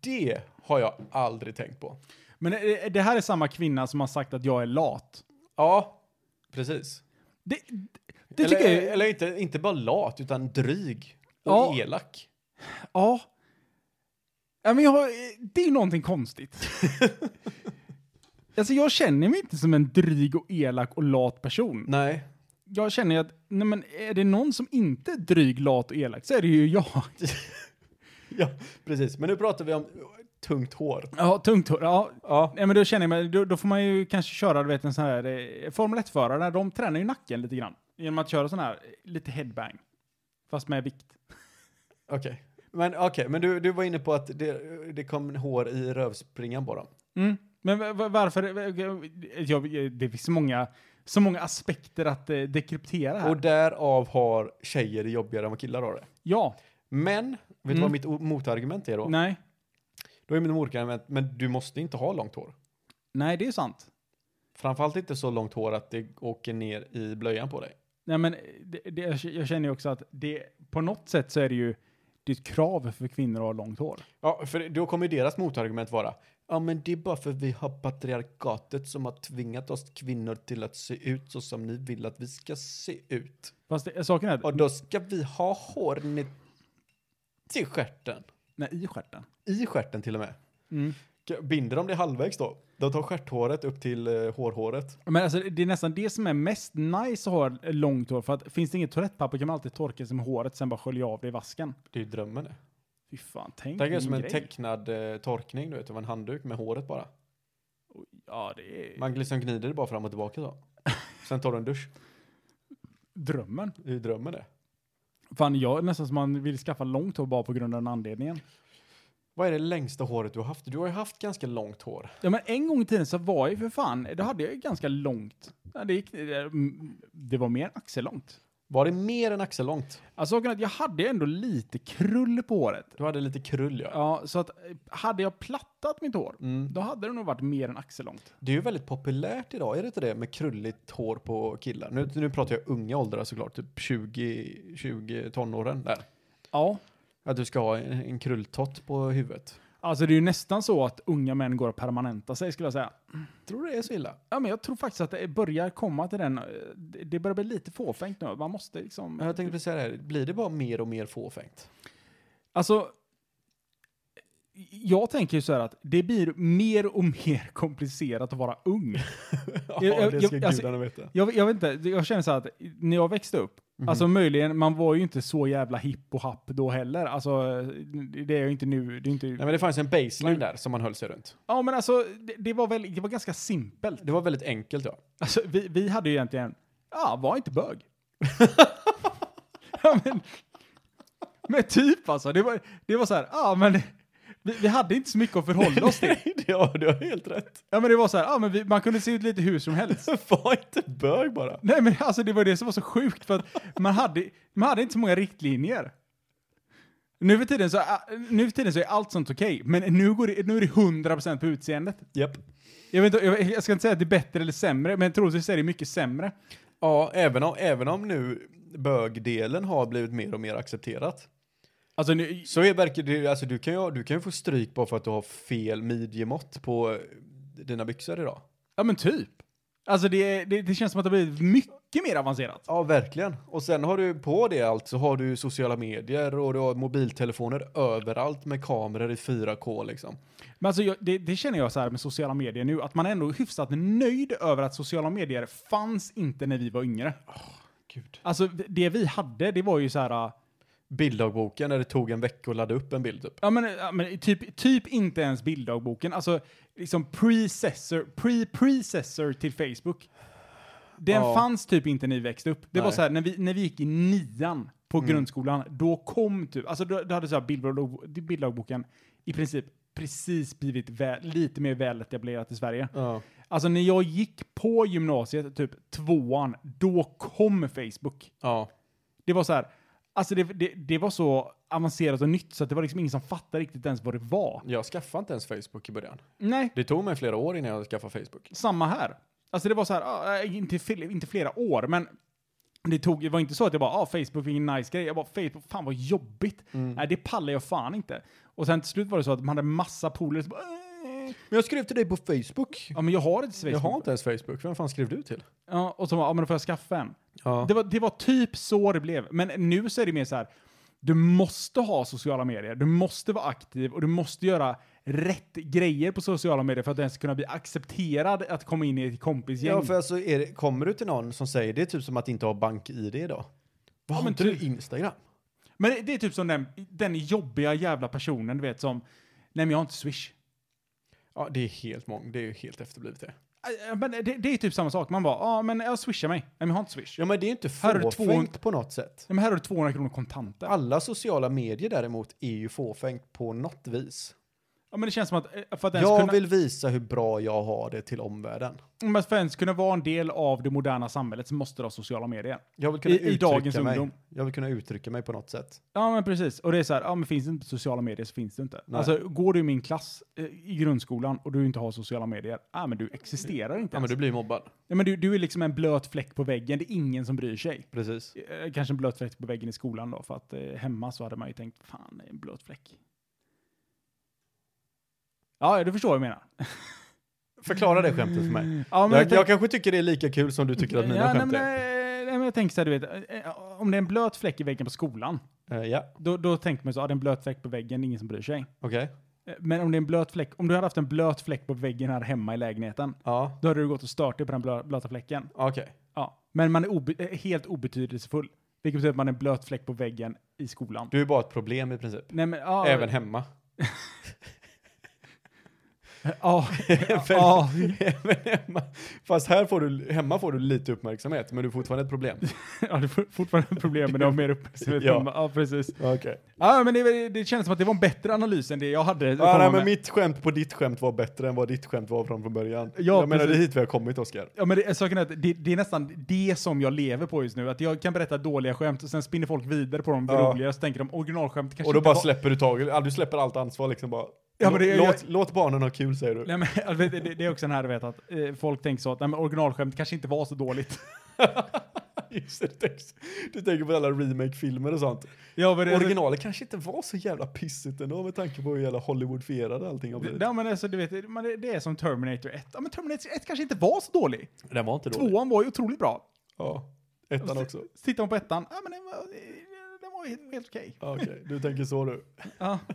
B: Det har jag aldrig tänkt på.
A: Men eh, det här är samma kvinna som har sagt att jag är lat.
B: Ja, precis.
A: Det, det
B: eller
A: tycker jag är-
B: eller inte, inte bara lat, utan dryg och
A: Ja.
B: elak.
A: Ja. ja men jag, har- eh, det är ju någonting konstigt. alltså jag känner mig inte som en dryg och elak och lat person.
B: Nej.
A: Jag känner ju att, nej men är det någon som inte är dryg, lat och elak så är det ju jag.
B: Ja, precis. Men nu pratar vi om tungt hår.
A: Ja, tungt hår. Ja.
B: Ja.
A: Nej men då känner jag mig, då, då får man ju kanske köra, du vet en sån här, eh, Formel 1-förare, de tränar ju nacken lite grann. Genom att köra sån här, eh, lite headbang. Fast med vikt.
B: Okej. Men okej, men du, du var inne på att det, det kom hår i rövspringan på dem.
A: Mm. Men va- va- varför? Jag, det finns så många, så många aspekter att eh, dekryptera här.
B: Och därav har tjejer det jobbigare än vad killar har det.
A: ja,
B: Men, vet du
A: Mm.
B: vad mitt o- motargument är då?
A: nej,
B: Då är mitt motargument, men du måste inte ha långt hår.
A: nej, det är sant.
B: Framförallt inte så långt hår att det åker ner i blöjan på dig.
A: Nej, men det, det, jag k- jag känner ju också att det, på något sätt så är det ju det är ett krav för kvinnor att ha långt hår.
B: Ja, för då kommer ju deras motargument vara, ja men det är bara för vi har patriarkatet som har tvingat oss kvinnor till att se ut så som ni vill att vi ska se ut.
A: Fast det, saken är
B: Och
A: att,
B: då ska vi ha hår ner till stjärten.
A: nej, i stjärten.
B: I stjärten till och med.
A: Mm.
B: Binder de det halvvägs då? De tar stjärthåret upp till eh, hårhåret.
A: Men alltså, det är nästan det som är mest nice att ha eh, långt hår, för att finns det inget toalettpapper kan man alltid torka sig med håret, sen bara skölja av det i vasken.
B: Det är ju drömmen det.
A: Fy fan, tänk
B: Tänk dig
A: vilken
B: som en
A: grej.
B: tecknad eh, torkning du vet, av en handduk med håret bara.
A: Ja, det är
B: Man liksom gnider det bara fram och tillbaka så. Sen tar du en dusch.
A: drömmen.
B: Det är ju drömmen det.
A: Fan, jag är nästan som man vill skaffa långt hår bara på grund av den anledningen.
B: Vad är det längsta håret du har haft? Du har ju haft ganska långt hår.
A: Ja, men en gång i tiden så var jag ju för fan, då hade jag ju ganska långt. Ja, det, gick, det, det var mer än axellångt.
B: Var det mer än axellångt?
A: Alltså, saken är att jag hade ju ändå lite krull på håret.
B: Du hade lite krull ja.
A: Ja, så att eh, hade jag plattat mitt hår,
B: Mm.
A: då hade det nog varit mer än axellångt.
B: Det är ju väldigt populärt idag, är det inte det? Med krulligt hår på killar. Nu, nu pratar jag unga åldrar såklart, typ 20, 20 tonåren där.
A: Ja.
B: Att du ska ha en, en krulltott på huvudet.
A: Alltså det är ju nästan så att unga män går att permanenta sig skulle jag säga.
B: Tror du det är så illa?
A: Ja men jag tror faktiskt att det börjar komma till den, eh, det det börjar bli lite fåfängt nu. Man måste liksom...
B: Jag tänkte precis säga det här, blir det bara mer och mer fåfängt?
A: Alltså, jag tänker ju så här att det blir mer och mer komplicerat att vara ung.
B: ja,
A: jag- jag- alltså-
B: gudarna veta.
A: Jag, jag vet inte, jag känner så här att när jag växte upp Alltså möjligen, man var ju inte så jävla hipp och happ då heller. Alltså, det är jag inte nu. Det är inte...
B: Nej, men det fanns en baseline där som man höll sig runt.
A: Ja, men alltså, det, det, var väl, det var ganska simpelt.
B: Det var väldigt enkelt ja.
A: Alltså, vi, vi hade ju egentligen, ja, var inte bög. ja, men, men typ alltså, det var, det var så här, ja, men vi, vi hade inte så mycket att förhålla oss till.
B: Nej, det har, du har helt rätt.
A: Ja, men det var så här, ja, men vi, man kunde se ut lite hur som helst.
B: Var inte bög bara.
A: Nej, men alltså det var det som var så sjukt för att man hade, man hade inte så många riktlinjer. Nu för tiden så, äh, nu för tiden så är allt sånt okej, men nu, går det, nu är det 100% på utseendet.
B: Japp.
A: Jag, vet, inte- jag, jag ska inte säga att det är bättre eller sämre, men troligtvis är det mycket sämre.
B: Ja, även om, även om nu bögdelen har blivit mer och mer accepterat.
A: Alltså, nu,
B: Så är, verkar det, alltså du kan, ju, du kan ju få stryk bara för att du har fel midjemått på eh, dina byxor idag.
A: ja men typ. Alltså det, det, det känns som att det har blivit mycket mer avancerat.
B: Ja, verkligen. Och sen har du på det allt så har du sociala medier och du har mobiltelefoner överallt med kameror i 4K liksom.
A: Men alltså jag, det, det känner jag så här med sociala medier nu, att man är ändå hyfsat nöjd över att sociala medier fanns inte när vi var yngre.
B: Gud.
A: Alltså det vi hade, det var ju så här... äh,
B: Bilddagboken där det tog en vecka att ladda upp en bild upp.
A: Ja men, ja, men typ, typ inte ens bilddagboken. Alltså liksom precessor, pre-precessor till Facebook. Den
B: Ja.
A: fanns typ inte när vi växte upp. Det var
B: Nej. Mm.
A: så här, när vi, när vi gick i nian på grundskolan, då kom typ, alltså då, då hade så här bilddag, bilddagboken i princip precis blivit vä- lite mer väletablerat i Sverige.
B: Ja.
A: Alltså när jag gick på gymnasiet, typ tvåan, då kom Facebook.
B: Ja.
A: Det var så här, alltså det, det, det var så avancerat och nytt så att det var liksom ingen som fattade riktigt ens vad det var.
B: Jag skaffade inte ens Facebook i början.
A: Nej,
B: Det tog mig flera år innan jag skaffade Facebook.
A: samma här. Alltså det var så här, ah, eh, inte, fel- inte flera år, men det, tog, det var inte så att jag bara, ah, Facebook är ingen nice grej. Jag bara, Facebook, fan vad jobbigt. Nej, det pallar jag fan inte. Och sen till slut var det så att man hade massa polare som bara, eh,
B: Men jag skrev till dig på Facebook.
A: ja men jag har inte
B: Jag
A: Facebook.
B: har inte ens Facebook. Vem fan skrev du till?
A: Ja, och så bara, ja men då får jag skaffa en.
B: Ja.
A: Det var, det var typ så det blev. Men nu så är det mer så här, du måste ha sociala medier, du måste vara aktiv och du måste göra rätt grejer på sociala medier för att ens kunna bli accepterad att komma in i ett kompisgäng.
B: Ja, för alltså är det, kommer du till någon som säger det är typ som att inte ha bank-id idag. Vad har
A: men
B: inte
A: typ.
B: du Instagram?
A: Men det, det är typ som den, den jobbiga jävla personen du vet som, nej men jag har inte swish.
B: Ja, det är helt mång. Det är ju helt efterblivet det.
A: Äh, Men det, det är typ samma sak, man bara, ja men jag swishar mig, nej men jag har inte swish.
B: Ja, men det är inte
A: Här är det
B: fåfängt på något sätt.
A: Nej, men här har du 200 kronor kontanter.
B: Alla sociala medier däremot är ju fåfängt på något vis.
A: Ja, men det känns som att, eh, för att ens
B: Jag
A: kunna,
B: vill visa hur bra jag har det till omvärlden.
A: men för att ens kunna vara en del av det moderna samhället så måste du ha sociala medier.
B: Jag vill kunna
A: I- i
B: uttrycka
A: dagens
B: mig.
A: ungdom.
B: Jag vill kunna uttrycka mig på något sätt.
A: Ja men precis, och det är så här, ja men finns det inte på sociala medier så finns det inte.
B: Nej.
A: Alltså går du i min klass eh, i grundskolan och du inte har sociala medier, ja men du existerar inte
B: Ja, men
A: ens.
B: du blir mobbad.
A: Ja, men du, du är liksom en blöt fläck på väggen, det är ingen som bryr sig.
B: Precis.
A: Eh, Kanske en blöt fläck på väggen i skolan då, för att eh, hemma så hade man ju tänkt, fan det är en blöt fläck. Ja, ja, du förstår vad jag menar.
B: Förklara det skämtet för mig.
A: Ja,
B: Mm. jag, jag kanske tycker det är lika kul som du tycker att mina
A: ja, nej,
B: skämt
A: men,
B: är.
A: eh, nej, men jag tänker så här, du vet, eh, eh, om det är en blöt fläck i väggen på skolan,
B: Eh, ja,
A: då, då tänker man så, ja det är en blöt fläck på väggen, det är ingen som bryr sig. Eh,
B: okej.
A: Men om det är en blöt fläck, om du hade haft en blöt fläck på väggen här hemma i lägenheten,
B: Ja,
A: då hade du gått och stört dig på den blö, blöta fläcken.
B: okej.
A: Ja. Men man är obe, eh, helt obetydelsefull. Vilket betyder att man är en blöt fläck på väggen i skolan.
B: Du är bara ett problem i princip.
A: Nej men, ja.
B: Även hemma.
A: Ja. ja.
B: Ja. Även hemma. Fast här får du, hemma får du lite uppmärksamhet, men du är fortfarande ett problem.
A: ja, det är for- fortfarande ett problem men det har mer uppmärksamhet.
B: Ja.
A: ja, precis.
B: Okej.
A: Ja, men det, det känns som att det var en bättre analys än det jag hade. att
B: Ah,
A: komma
B: nej,
A: med.
B: men mitt skämt på ditt skämt var bättre än vad ditt skämt var från, från början.
A: Ja,
B: jag menar, det är
A: precis.
B: hit vi har kommit, Oskar.
A: Ja, men det, eh, saken är att det, det är nästan det som jag lever på just nu. Att jag kan berätta dåliga skämt och sen spinner folk vidare på de
B: Ja.
A: roliga. Så tänker de originalskämt kanske
B: Och då
A: inte
B: bara
A: var-
B: släpper du taget. Ja, du släpper allt ansvar liksom bara.
A: Ja, men det-
B: låt, låt barnen ha kul, säger du.
A: Nej, men, jag vet, det, det är också den här du vet att eh, folk tänker så att nej, men originalskämt kanske inte var så dåligt.
B: Just det, du tänker- du tänker på alla remake-filmer och sånt.
A: Ja, men det,
B: Originalet kanske inte var så jävla pissigt ändå med tanke på hur jävla Hollywoodfierade allting har
A: det,
B: blivit.
A: ja, men alltså, du vet, man, det, det är som Terminator 1. Ja, men Terminator 1 kanske inte var Alltså- så dålig.
B: Den var inte dålig.
A: Tvåan var ju otroligt bra.
B: Ja, ettan också.
A: Så tittar man på ettan, ja men den var, eh, den var helt, helt okej.
B: Ja, Okej, du tänker så du.
A: Ja.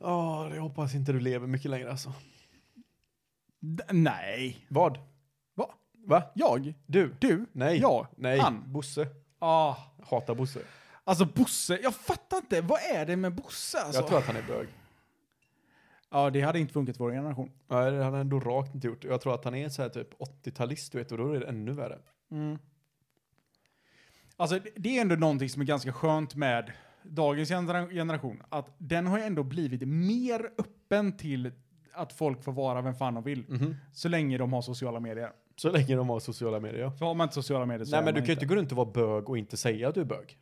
B: Ja, jag hoppas inte du lever mycket längre alltså.
A: D- nej.
B: Vad?
A: Va?
B: Va?
A: Jag?
B: Du?
A: Du?
B: Nej.
A: Jag?
B: Nej.
A: Han?
B: Bosse.
A: Ah.
B: Hatar Bosse.
A: Alltså Bosse, jag fattar inte. Vad är det med Bosse alltså?
B: Jag tror att han är bög.
A: Ja, det hade inte funkat i vår generation.
B: Nej, det hade han ändå rakt inte gjort. Jag tror att han är så här typ 80-talist, du vet, och då är det ännu värre.
A: Mm. Alltså det- det är ändå någonting som är ganska skönt med dagens genera- generation. Att den har ju ändå blivit mer öppen till att folk får vara vem fan de vill. Så länge de har sociala medier.
B: Så länge de har sociala medier, ja.
A: För har man inte sociala medier så
B: Nej,
A: är man
B: men du kan ju inte gå runt och vara bög och inte säga att du är bög.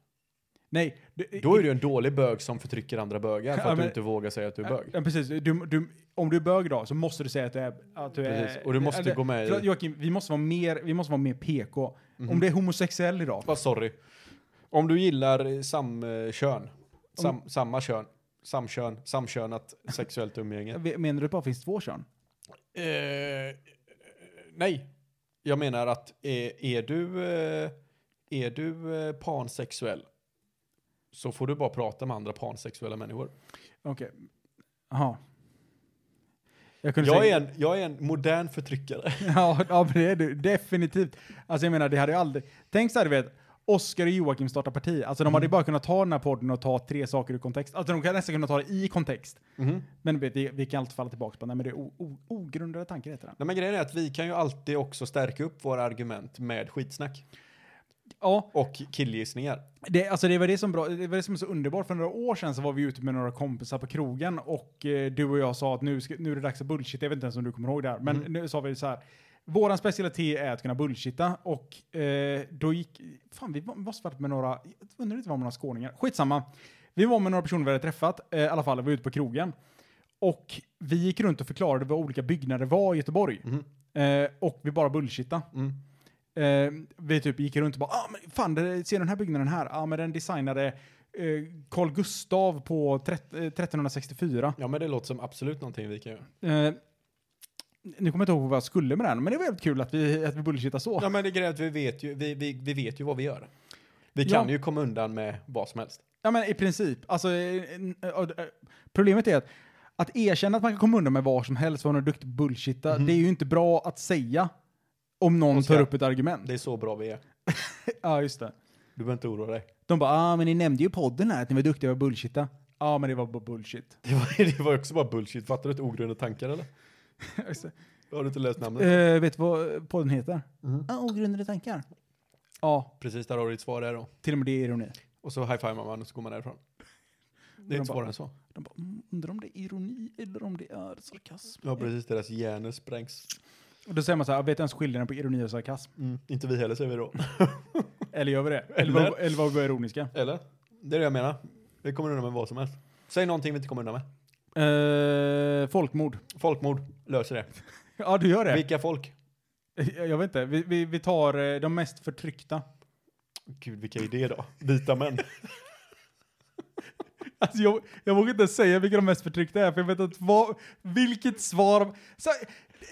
A: Nej. Du,
B: Då är du en dålig bög som förtrycker andra bögar för
A: Ja,
B: att du
A: men-
B: inte vågar säga att du är bög.
A: Ja, precis. Du, du, om du är bög idag så måste du säga att du är... Att du
B: Precis.
A: är
B: Och du måste
A: eller-
B: gå med i- Mhm.
A: förlåt, Joakim, vi måste vara mer, vi måste vara mer PK.
B: Mm.
A: Om du är homosexuell idag.
B: Vad sorry. Om du gillar eh, samkön, sam, samma kön, samkön, samkönat sexuellt umgänge.
A: Menar du att det bara finns två kön?
B: Eh, nej. Jag menar att är, är du, eh, är du eh, pansexuell så får du bara prata med andra pansexuella människor.
A: Okej. Jaha. Jag kunde
B: Jag
A: säga-
B: är en, jag är en modern förtryckare.
A: Ja, ja men det är du. Definitivt. Alltså jag menar, det hade ju aldrig... Tänk så här, du vet. Oskar och Joakim startar parti. Alltså
B: Mm.
A: de hade ju bara kunnat ta den här podden och ta tre saker ur kontext. Alltså de kan nästan kunna ta det i kontext. Men vet, vi, vi kan alltid falla tillbaka på, nej men det är o, o, ogrundade tankar heter den.
B: Nej, men grejen är att vi kan ju alltid också stärka upp våra argument med skitsnack
A: Ja,
B: och killgissningar.
A: det, alltså det var det som bra, det var det som är så underbart. För några år sedan så var vi ute med några kompisar på krogen och eh, du och jag sa att nu, ska, nu är det dags att bullshit. Jag vet inte ens om du kommer ihåg det här, men
B: Mm.
A: nu sa vi så här. Våran specialitet är att kunna bullshitta och eh, då gick, fan vi var- måste varit med några, jag undrar inte var med några skåningar, skitsamma. Vi var med några personer vi hade träffat, eh, i alla fall, vi var ute på krogen. Och vi gick runt och förklarade vad olika byggnader var i Göteborg. Eh, och vi bara bullshitta. Eh, vi typ gick runt och bara, ah, men fan, det, ser du den här byggnaden här? Ja, ah, men den designade eh, Carl Gustav på trett- eh, 1364.
B: Ja, men det låter som absolut någonting vi kan göra.
A: Eh, nu kommer jag inte ihåg vad jag skulle med den, men det var jävligt kul att vi, att vi bullshittar så.
B: Ja, men det grejen är att vi vet ju, vi, vi, vi vet ju vad vi gör. Vi
A: Ja.
B: kan ju komma undan med vad som helst.
A: Ja, men i princip. Alltså, eh, n- eh, eh, problemet är att att erkänna att man kan komma undan med vad som helst, vara en duktig bullshitta, det är ju inte bra att säga om någon
B: Oskar.
A: tar upp ett argument.
B: Det är så bra vi är.
A: Ja, just det.
B: Du behöver inte oroa dig.
A: De bara, ah, men ni nämnde ju i podden här att ni var duktiga på att bullshitta. Ja, ah, men det var bara bullshit.
B: Det var, det var också bara bullshit. Fattar du inte ogrundade tankar eller?
A: Just det.
B: Har du inte läst namnet?
A: Eh, vet du vad podden heter? Ah, ogrundade tankar. Ja,
B: Precis, där har du ditt svar där då.
A: till och med det är ironi.
B: Och så high-fivar man och så går man därifrån. Det
A: De
B: är inte
A: bara-
B: svårare än så.
A: De bara, "Mm, undrar om det är ironi eller om det är sarkasm.
B: Ja, precis. Deras hjärnor sprängs. Mm.
A: Och då säger man så här, "Ah, vet du ens skillnaden på ironi och sarkasm?
B: Inte vi heller säger vi då.
A: Eller gör vi det? Eller,
B: Eller?
A: var- eller var vi bara ironiska?
B: Eller? Det är det jag menar. Vi kommer undan med vad som helst. Säg någonting vi inte kommer undan med.
A: Eh, folkmord.
B: Folkmord löser det.
A: Ja, du gör det.
B: Vilka folk?
A: Jag vet inte. Vi, vi, vi tar eh, de mest förtryckta.
B: Gud, vilka idéer då? Vita män.
A: Alltså jag, jag vågar inte säga vilka de mest förtryckta är, för jag vet inte vad, vilket svar... Så,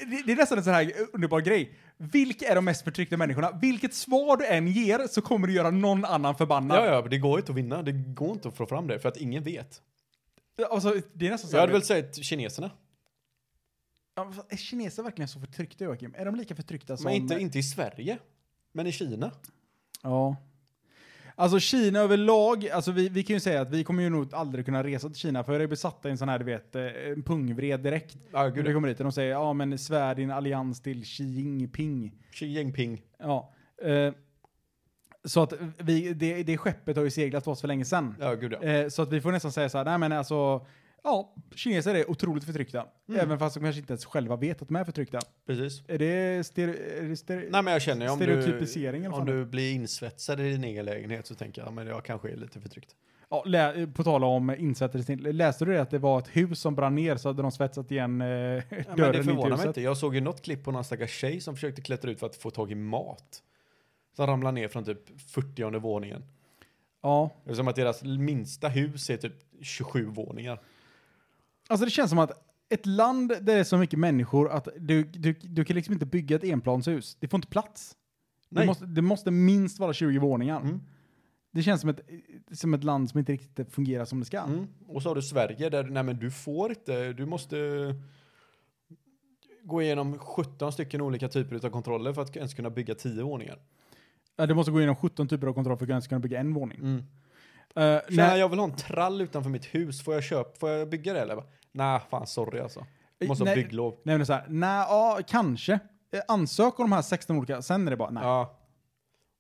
A: det, det är nästan en sån här underbar grej. Vilka är de mest förtryckta människorna? Vilket svar du än ger så kommer du göra någon annan förbannad.
B: Ja, ja, det går ju inte att vinna. Det går inte att få fram det, för att ingen vet.
A: Alltså, det är nästan så
B: Jag
A: här,
B: hade väl sagt kineserna.
A: Ja, fast Är kineser verkligen så förtryckta, Joakim? Är de lika förtryckta som...
B: Men inte, inte i Sverige. Men i Kina.
A: Ja. Alltså Kina överlag, alltså vi, vi kan ju säga att vi kommer ju nog aldrig kunna resa till Kina för jag är besatta i en sån här, du vet, eh, en pungvred direkt.
B: Ja,
A: Gud,
B: gud.
A: vi kommer dit och de säger ja men svär din allians till Xi Jinping.
B: Xi Jinping.
A: Ja. Eh, så att vi, det, det skeppet har ju seglat oss för länge sedan.
B: Ja, gud ja.
A: Eh, så att vi får nästan säga så här, nej men alltså, ja, kineser är otroligt förtryckta.
B: Mm.
A: Även fast de kanske inte ens själva vet att de är förtryckta.
B: Precis.
A: Är det stere- är det stere-
B: Nej, men jag känner ju om
A: Stereotypisering
B: du,
A: eller
B: om
A: vad fan
B: du blir insvetsad i din egen lägenhet så tänker jag, ja, men jag kanske är lite förtryckt.
A: Ja, lä- eh, på tal om insättare, läste du det att det var ett hus som brann ner så hade de svetsat igen eh,
B: Ja, men det
A: dörren in till
B: förvånar mig
A: huset?
B: inte. Jag såg ju något klipp på någon stackars tjej som försökte klättra ut för att få tag i mat. Som ramlade ner från typ 40 våningen.
A: Ja.
B: Det är som att deras minsta hus är typ 27 våningar.
A: Alltså det känns som att ett land där det är så mycket människor att du, du, du kan liksom inte bygga ett enplanshus. Det får inte plats. Det
B: Nej.
A: måste, det måste minst vara 20 våningar.
B: Mm.
A: Det känns som ett, som ett land som inte riktigt fungerar som det ska.
B: Mm. Och så har du Sverige där, nej men du får inte, du måste gå igenom 17 stycken olika typer av kontroller för att ens kunna bygga 10 våningar.
A: Ja, Du måste gå igenom 17 typer av kontroll för att ens kunna bygga en våning.
B: Mm.
A: Eh,
B: Nej,
A: nej,
B: jag vill ha en trall utanför mitt hus. Får jag köpa, får jag bygga det eller? Jag bara, Nej, fan sorry alltså. Jag Måste ha
A: nej,
B: bygglov.
A: nej, men så här, nej, ja, kanske. Eh, Ansök om de här 16 olika, sen är det bara nej.
B: Ja.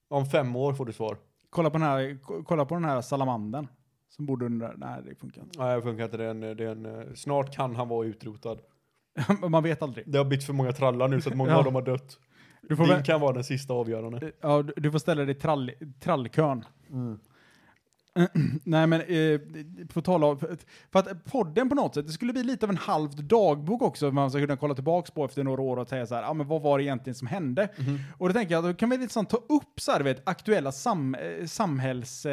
B: Om fem år får du svar.
A: Kolla, på den här, k- kolla på den här salamandern som bor under, nej det funkar inte.
B: Nej, det funkar inte. Det är en, det är en, eh, snart kan han vara utrotad.
A: Man vet aldrig.
B: Det har bytt för många trallar nu så att många
A: Ja.
B: av dem har dött.
A: Du får,
B: Din
A: väl,
B: kan vara den sista avgörande.
A: ja, du- du får ställa dig i trall, trallkön. Nej men, eh, på tal om, för- för att podden på något sätt, det skulle bli lite av en halvt dagbok också, man ska kunna kolla tillbaks på efter några år och säga så här, ja ah, men vad var det egentligen som hände? Och då tänker jag, då kan vi liksom ta upp så här, du vet, aktuella sam, eh,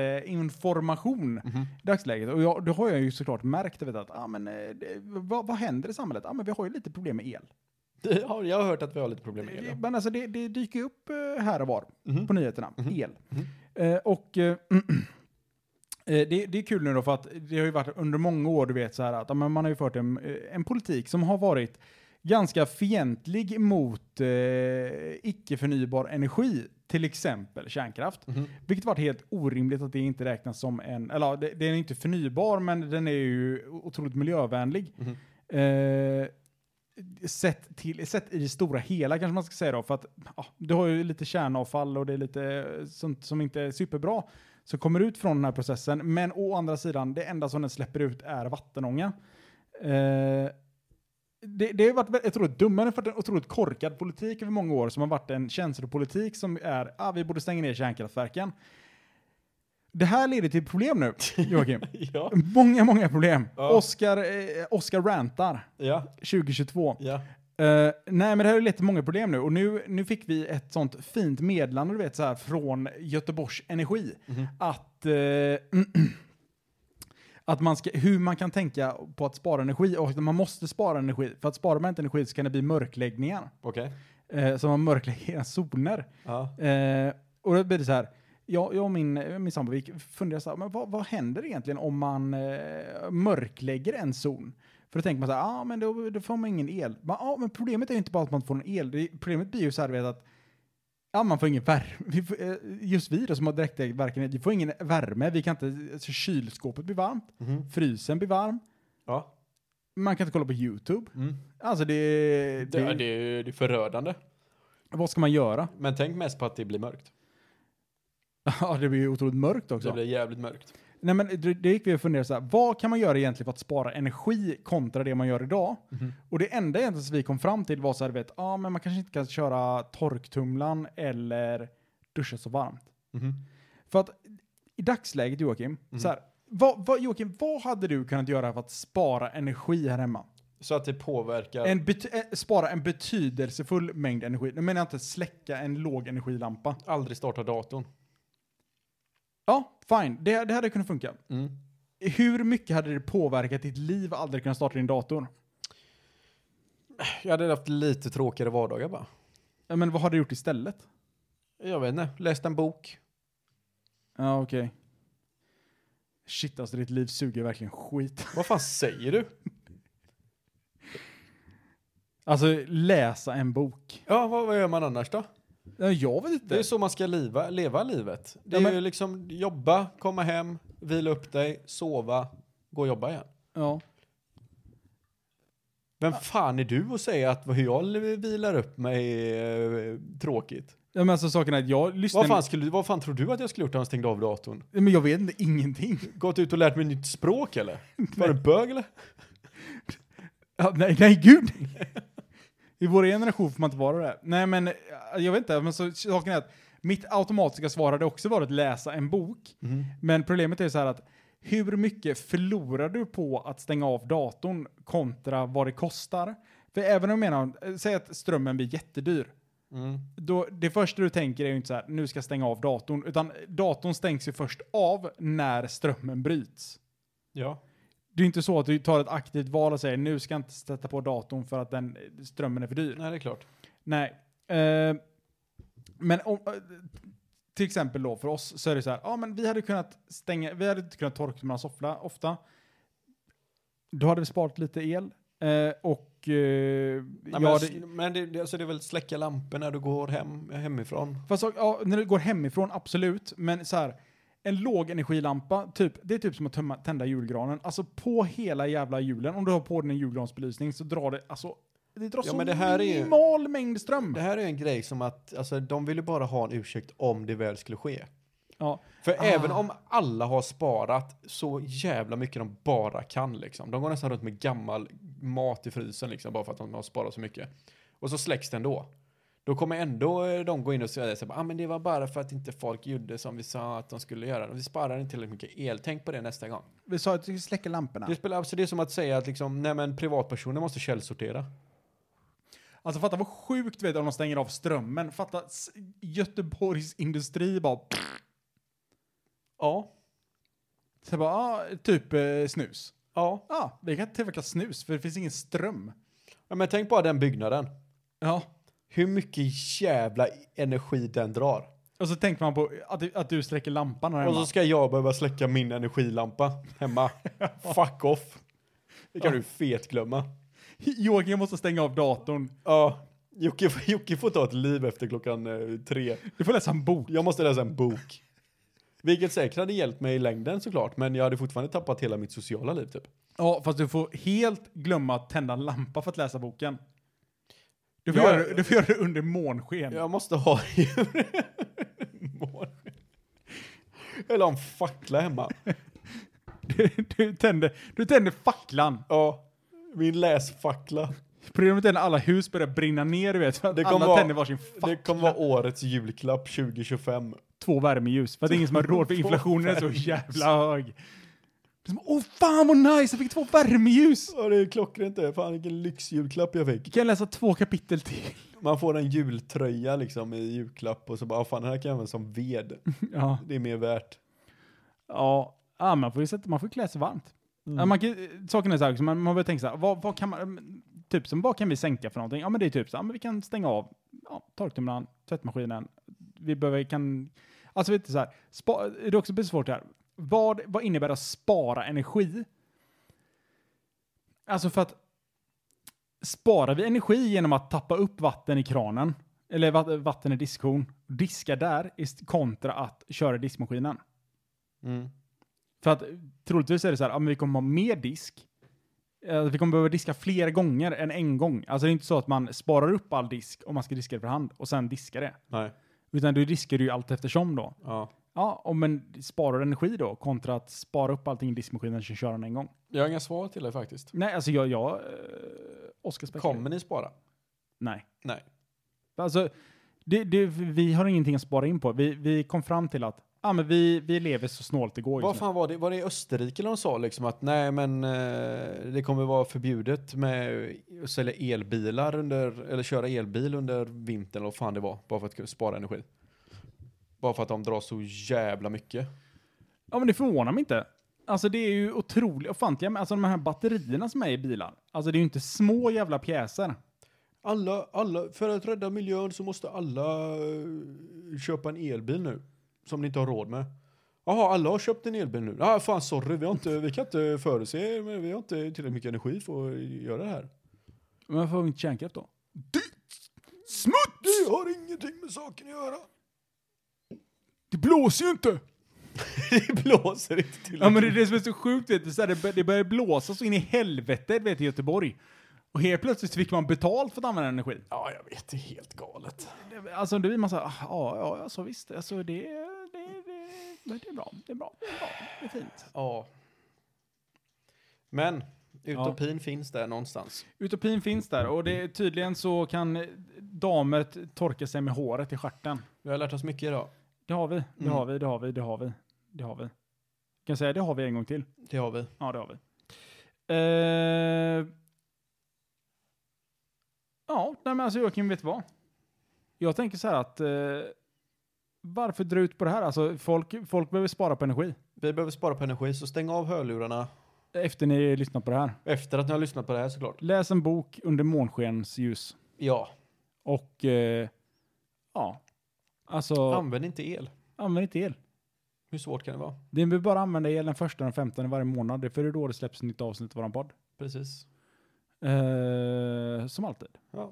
A: samhällsinformation i dagsläget. Och jag, då har jag ju såklart märkt, vet, att, ah, men, eh, det- vad, vad händer i samhället? Ja ah, men vi har ju lite problem med el.
B: Det har, jag har hört att vi har lite problem med
A: Det-
B: det.
A: Men alltså det, det dyker ju upp eh, här och var
B: Mhm.
A: på nyheterna, el.
B: Mhm.
A: Eh, och eh, eh, det, det är kul nu då för att det har ju varit under många år, du vet så här att ja, men man har ju fört en, eh, en politik som har varit ganska fientlig mot eh, icke förnybar energi, till exempel kärnkraft.
B: Mhm.
A: Vilket varit helt orimligt att det inte räknas som en, eller ja, det, den är inte förnybar men den är ju otroligt miljövänlig.
B: Mm-hmm.
A: Eh, sett, till, sett i det stora hela kanske man ska säga då, för att ja, du har ju lite kärnavfall och det är lite eh, sånt som inte är superbra som kommer ut från den här processen. Men å andra sidan, det enda som den släpper ut är vattenånga. Eh, det, det har varit vä- otroligt dummare för att det är en otroligt korkad politik över många år som har varit en känslopolitik som är ah, vi borde stänga ner kärnkraftverken. Det här leder till problem nu, Joakim.
B: Ja,
A: många, många problem.
B: Ja.
A: Oscar, eh, Oscar rantar
B: ja,
A: 2022.
B: ja.
A: Eh, nej, men det här har ju lett till många problem nu. Och nu, nu fick vi ett sånt fint meddelande, du vet, så här, från Göteborgs Energi.
B: Mm-hmm.
A: Att, eh, att man ska, hur man kan tänka på att spara energi och att man måste spara energi. För att sparar man inte energi så kan det bli mörkläggningar.
B: Okej.
A: Eh, så man mörklägger era zoner.
B: Ja.
A: Eh, och då blir det så här. Jag, jag och min, min sambo vi funderar så här, men vad, vad händer egentligen om man eh, mörklägger en zon? För då tänker man så här, ja ah, men då, då får man ingen el. Men, ah, men problemet är ju inte bara att man inte får någon el, det, problemet blir ju så här vet, att ja, man får ingen värme. Vi får, eh, just vi då som har direktverkande, vi får ingen värme, vi kan inte, alltså, kylskåpet blir varmt,
B: Mhm.
A: frysen blir varm,
B: Ja.
A: man kan inte kolla på YouTube.
B: Mm.
A: Alltså det,
B: Det, det, är- det är förödande.
A: vad ska man göra?
B: Men tänk mest på att det blir mörkt.
A: Ja, det blir ju otroligt mörkt också.
B: Det blir jävligt mörkt.
A: Nej men det- det gick vi och funderade så här, vad kan man göra egentligen för att spara energi kontra det man gör idag? Och det enda egentligen som vi kom fram till var så här, du vet, ja ah, men man kanske inte kan köra torktumlan eller duscha så varmt.
B: Mhm.
A: För att i dagsläget Joakim, så här, vad, vad, Joakim, vad hade du kunnat göra för att spara energi här hemma?
B: Så att det påverkar.
A: En bety- eh, spara en betydelsefull mängd energi. Nu menar jag inte släcka en låg energilampa.
B: Aldrig starta datorn.
A: Ja, fine, det, det hade kunnat funka.
B: Mm.
A: Hur mycket hade det påverkat ditt liv att aldrig kunna starta din dator?
B: Jag hade haft lite tråkigare vardagar bara.
A: Ja, men vad har du gjort istället?
B: Jag vet inte. Läst en bok.
A: Ja, okej. Shit, alltså ditt liv suger verkligen skit.
B: Vad fan säger du?
A: Alltså, läsa en bok.
B: Ja, vad, vad gör man annars då?
A: Ja, jag vet inte.
B: Det är så man ska liva, leva livet. Det
A: Ja,
B: är
A: men-
B: ju liksom jobba, komma hem, vila upp dig, sova, gå och jobba igen.
A: Ja.
B: Vem fan är du att säga att hur jag vilar upp mig är eh, tråkigt?
A: ja, men alltså saken är att jag lyssnar...
B: Vad fan, skulle, vad fan tror du att jag skulle gjort om jag stängde av datorn?
A: Ja, Men jag vet inte, ingenting.
B: Gått ut och lärt mig nytt språk eller? Var du bög eller?
A: Ja, nej, nej, gud! I vår generation får man inte vara det. Nej, men eh, jag vet inte. Men så, saken är att mitt automatiska svar hade också varit läsa en bok.
B: Mm.
A: Men problemet är så här att hur mycket förlorar du på att stänga av datorn kontra vad det kostar? För även om jag menar, eh, säg att strömmen blir jättedyr.
B: Mm.
A: Då, det första du tänker är ju inte så här, nu ska jag stänga av datorn. Utan datorn stängs ju först av när strömmen bryts.
B: Ja.
A: Det är inte så att du tar ett aktivt val och säger nu ska jag inte sätta på datorn för att den strömmen är för dyr.
B: Nej, det är klart.
A: Nej. Eh, men om, eh, till exempel då för oss så är det så här, ja men vi hade kunnat stänga, vi hade inte kunnat torktumla så ofta, ofta. Då hade vi sparat lite el. Eh, och... Eh, ja,
B: Nej, men
A: det,
B: men det, det, alltså det är väl släcka lampor när du går hem, hemifrån.
A: Fast så- ja, när du går hemifrån, absolut. Men så här, en låg energilampa, typ, det är typ som att tömma, tända julgranen. Alltså på hela jävla julen, om du har på den en julgransbelysning så drar det, alltså, det drar
B: Ja,
A: så
B: men det här är ju-
A: minimal mängd ström.
B: Det här är en grej som att, alltså de vill ju bara ha en ursäkt om det väl skulle ske.
A: Ja.
B: För
A: Ah.
B: även om alla har sparat så jävla mycket de bara kan liksom. De går nästan runt med gammal mat i frysen liksom bara för att de har sparat så mycket. Och så släcks den då. Då kommer ändå eh, de gå in och säga så här, ah, men det var bara för att inte folk gjorde som vi sa att de skulle göra. Vi sparar inte tillräckligt mycket el. Tänk på det nästa gång.
A: Vi sa att vi skulle släcka lamporna.
B: Det, spelar, alltså, det är som att säga att liksom, nej men privatpersoner måste källsortera.
A: Alltså fatta vad sjukt vet du, om de stänger av strömmen. Fatta s- Göteborgs industri bara...
B: Ja,
A: Så bara, ah, typ eh, snus.
B: ja.
A: Ja, ah, vi kan tillverka snus för det finns ingen ström.
B: Ja, Men tänk bara den byggnaden.
A: Ja.
B: Hur mycket jävla energi den drar.
A: Och så tänker man på att, du- att du släcker lampan här
B: Och
A: hemma.
B: så ska jag behöva släcka min energilampa hemma. Fuck off. Det kan du fetglömma.
A: Joakim måste stänga av datorn.
B: Ja, Jocke, Jocke får ta ett liv efter klockan eh, tre.
A: Du får läsa en bok.
B: Jag måste läsa en bok. Vilket säkert hade hjälpt mig i längden såklart, men jag hade fortfarande tappat hela mitt sociala liv typ.
A: Ja, fast du får helt glömma att tända en lampa för att läsa boken. Du får,
B: Ja.
A: göra, det- du får göra det under månsken.
B: Jag måste ha Mål. Eller ha en fackla hemma.
A: Du, du, tänder, du tänder facklan.
B: Ja, min läsfackla.
A: Problemet är när alla hus börjar brinna ner, du vet. För att
B: Det kommer
A: alla
B: vara-
A: tänder varsin fackla.
B: Det kommer vara årets julklapp 2025.
A: Två värmeljus. För att det är ingen som har råd, för
B: Två
A: inflationen är så
B: värmeljus.
A: jävla hög. Det är som, Åh fan vad nice, jag fick två värmeljus!
B: Ja, det är klockrent det. Fan vilken lyxjulklapp jag fick.
A: Kan jag läsa två kapitel till?
B: Man får en jultröja liksom i julklapp och så bara, "Ah, fan den här kan jag använda som ved.
A: Ja.
B: Det är mer värt.
A: Ja, ja man får ju sätta, man får ju klä sig varmt. Ja, man kan, ju- saken är så här, också, man, man börjar tänka så här, vad, vad kan man, mm, typ som vad kan vi sänka för någonting? Ja men det är typ så här, men vi kan stänga av ja, torktumlaren, tvättmaskinen, vi behöver, kan, alltså vet du så här, spa, det är också blir svårt det här, vad, vad innebär att spara energi? Alltså för att sparar vi energi genom att tappa upp vatten i kranen, eller vat- vatten i diskhon, diska där ist- kontra att köra i diskmaskinen?
B: Mm.
A: För att eh, troligtvis är det så här, ja, men vi kommer ha mer disk. Eh, Vi kommer behöva diska fler gånger än en gång. Alltså det är inte så att man sparar upp all disk om man ska diska det för hand och sen diska det.
B: Nej.
A: Utan du diskar du ju allt eftersom då.
B: Ja.
A: Ja, och men sparar du energi då kontra att spara upp allting i diskmaskinen och köra den en gång.
B: Jag har inga svar till dig faktiskt.
A: Nej, alltså jag, jag, eh, Oscar Speckler.
B: Kommer ni spara?
A: Nej.
B: Nej.
A: Alltså, det, det, vi har ingenting att spara in på. Vi, vi kom fram till att, ja men vi, vi lever så snålt det går
B: Vad
A: just nu.
B: fan var det? Var det i Österrike de sa liksom att nej men eh, det kommer vara förbjudet med att sälja elbilar under, eller köra elbil under vintern eller vad fan det var. Bara för att kunna spara energi. Bara för att de drar så jävla mycket.
A: Ja, men det förvånar mig inte. Alltså det är ju otroligt ofantliga, men alltså de här batterierna som är i bilar. Alltså det är ju inte små jävla pjäser.
B: Alla, alla, för att rädda miljön så måste alla eh, köpa en elbil nu. Som ni inte har råd med. Jaha, alla har köpt en elbil nu. Ah, fan sorry, vi, har inte, vi kan inte förutse, men vi har inte tillräckligt mycket energi för att göra det här.
A: Men varför har vi inte kärnkraft då?
B: Det har ingenting med saken att göra.
A: Det blåser ju inte!
B: det blåser inte till.
A: Ja men det är det som är så sjukt vet du, så här, det, bör- det börjar blåsa så in i helvete vet du, i Göteborg. Och helt plötsligt fick man betalt för att använda energi.
B: Ja, jag vet, det är helt galet.
A: Det- Alltså då blir man så här, ah, ja, ja, alltså visst, alltså det, det, det, det är bra, det är bra, det är bra, det är fint.
B: Ja. Men, utopin finns där någonstans.
A: Utopin finns där och det, tydligen så kan damer t- torka sig med håret i stjärten.
B: Vi har lärt oss mycket idag.
A: Det har vi, det
B: Mm.
A: har vi, det har vi, det har vi. Det har vi. Kan jag säga det har vi en gång till?
B: Det har vi.
A: Ja, det har vi. Eh, ja, nej men alltså Joakim, vet du vad? Jag tänker så här att eh, varför dra ut på det här? Alltså folk, folk behöver spara på energi
B: Vi behöver spara på energi, så stäng av hörlurarna
A: efter ni lyssnat på det här.
B: efter att ni har lyssnat på det här såklart.
A: Läs en bok under månskens ljus
B: Ja,
A: och eh, ja, alltså
B: använd inte el.
A: använd inte el.
B: Hur svårt kan det vara?
A: Ni behöver bara använda el den första och den femtonde varje månad, för det är då det släpps ett nytt avsnitt av våran podd.
B: Precis.
A: Eh, som alltid.
B: Ja.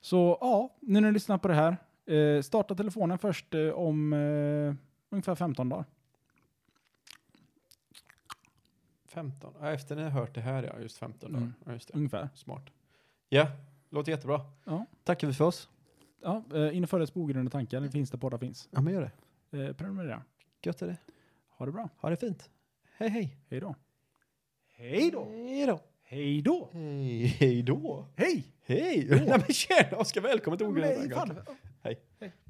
A: Så ja, nu när du lyssnar på det här, eh, starta telefonen först eh, om eh, ungefär 15 dagar.
B: 15. Ja, efter ni har hört det här, ja. Just 15
A: Mm.
B: dagar. Ja, just det.
A: Ungefär.
B: Smart. Ja, låter jättebra.
A: Ja.
B: Tackar vi för oss.
A: Ja, eh, in i förrätts på ogrundade tankar, det finns där poddar finns.
B: Ja, men gör det.
A: Eh, prenumerera.
B: Gött är det.
A: Ha det bra.
B: Ha det fint. Hej, hej.
A: Hej då. Hej
B: Hej då.
A: Hej då.
B: Hej, hej då.
A: Hej!
B: Hej! Nej men tjena Oskar, välkommen till Ogrundade
A: Nej,
B: tankar.
A: fan.
B: Hej.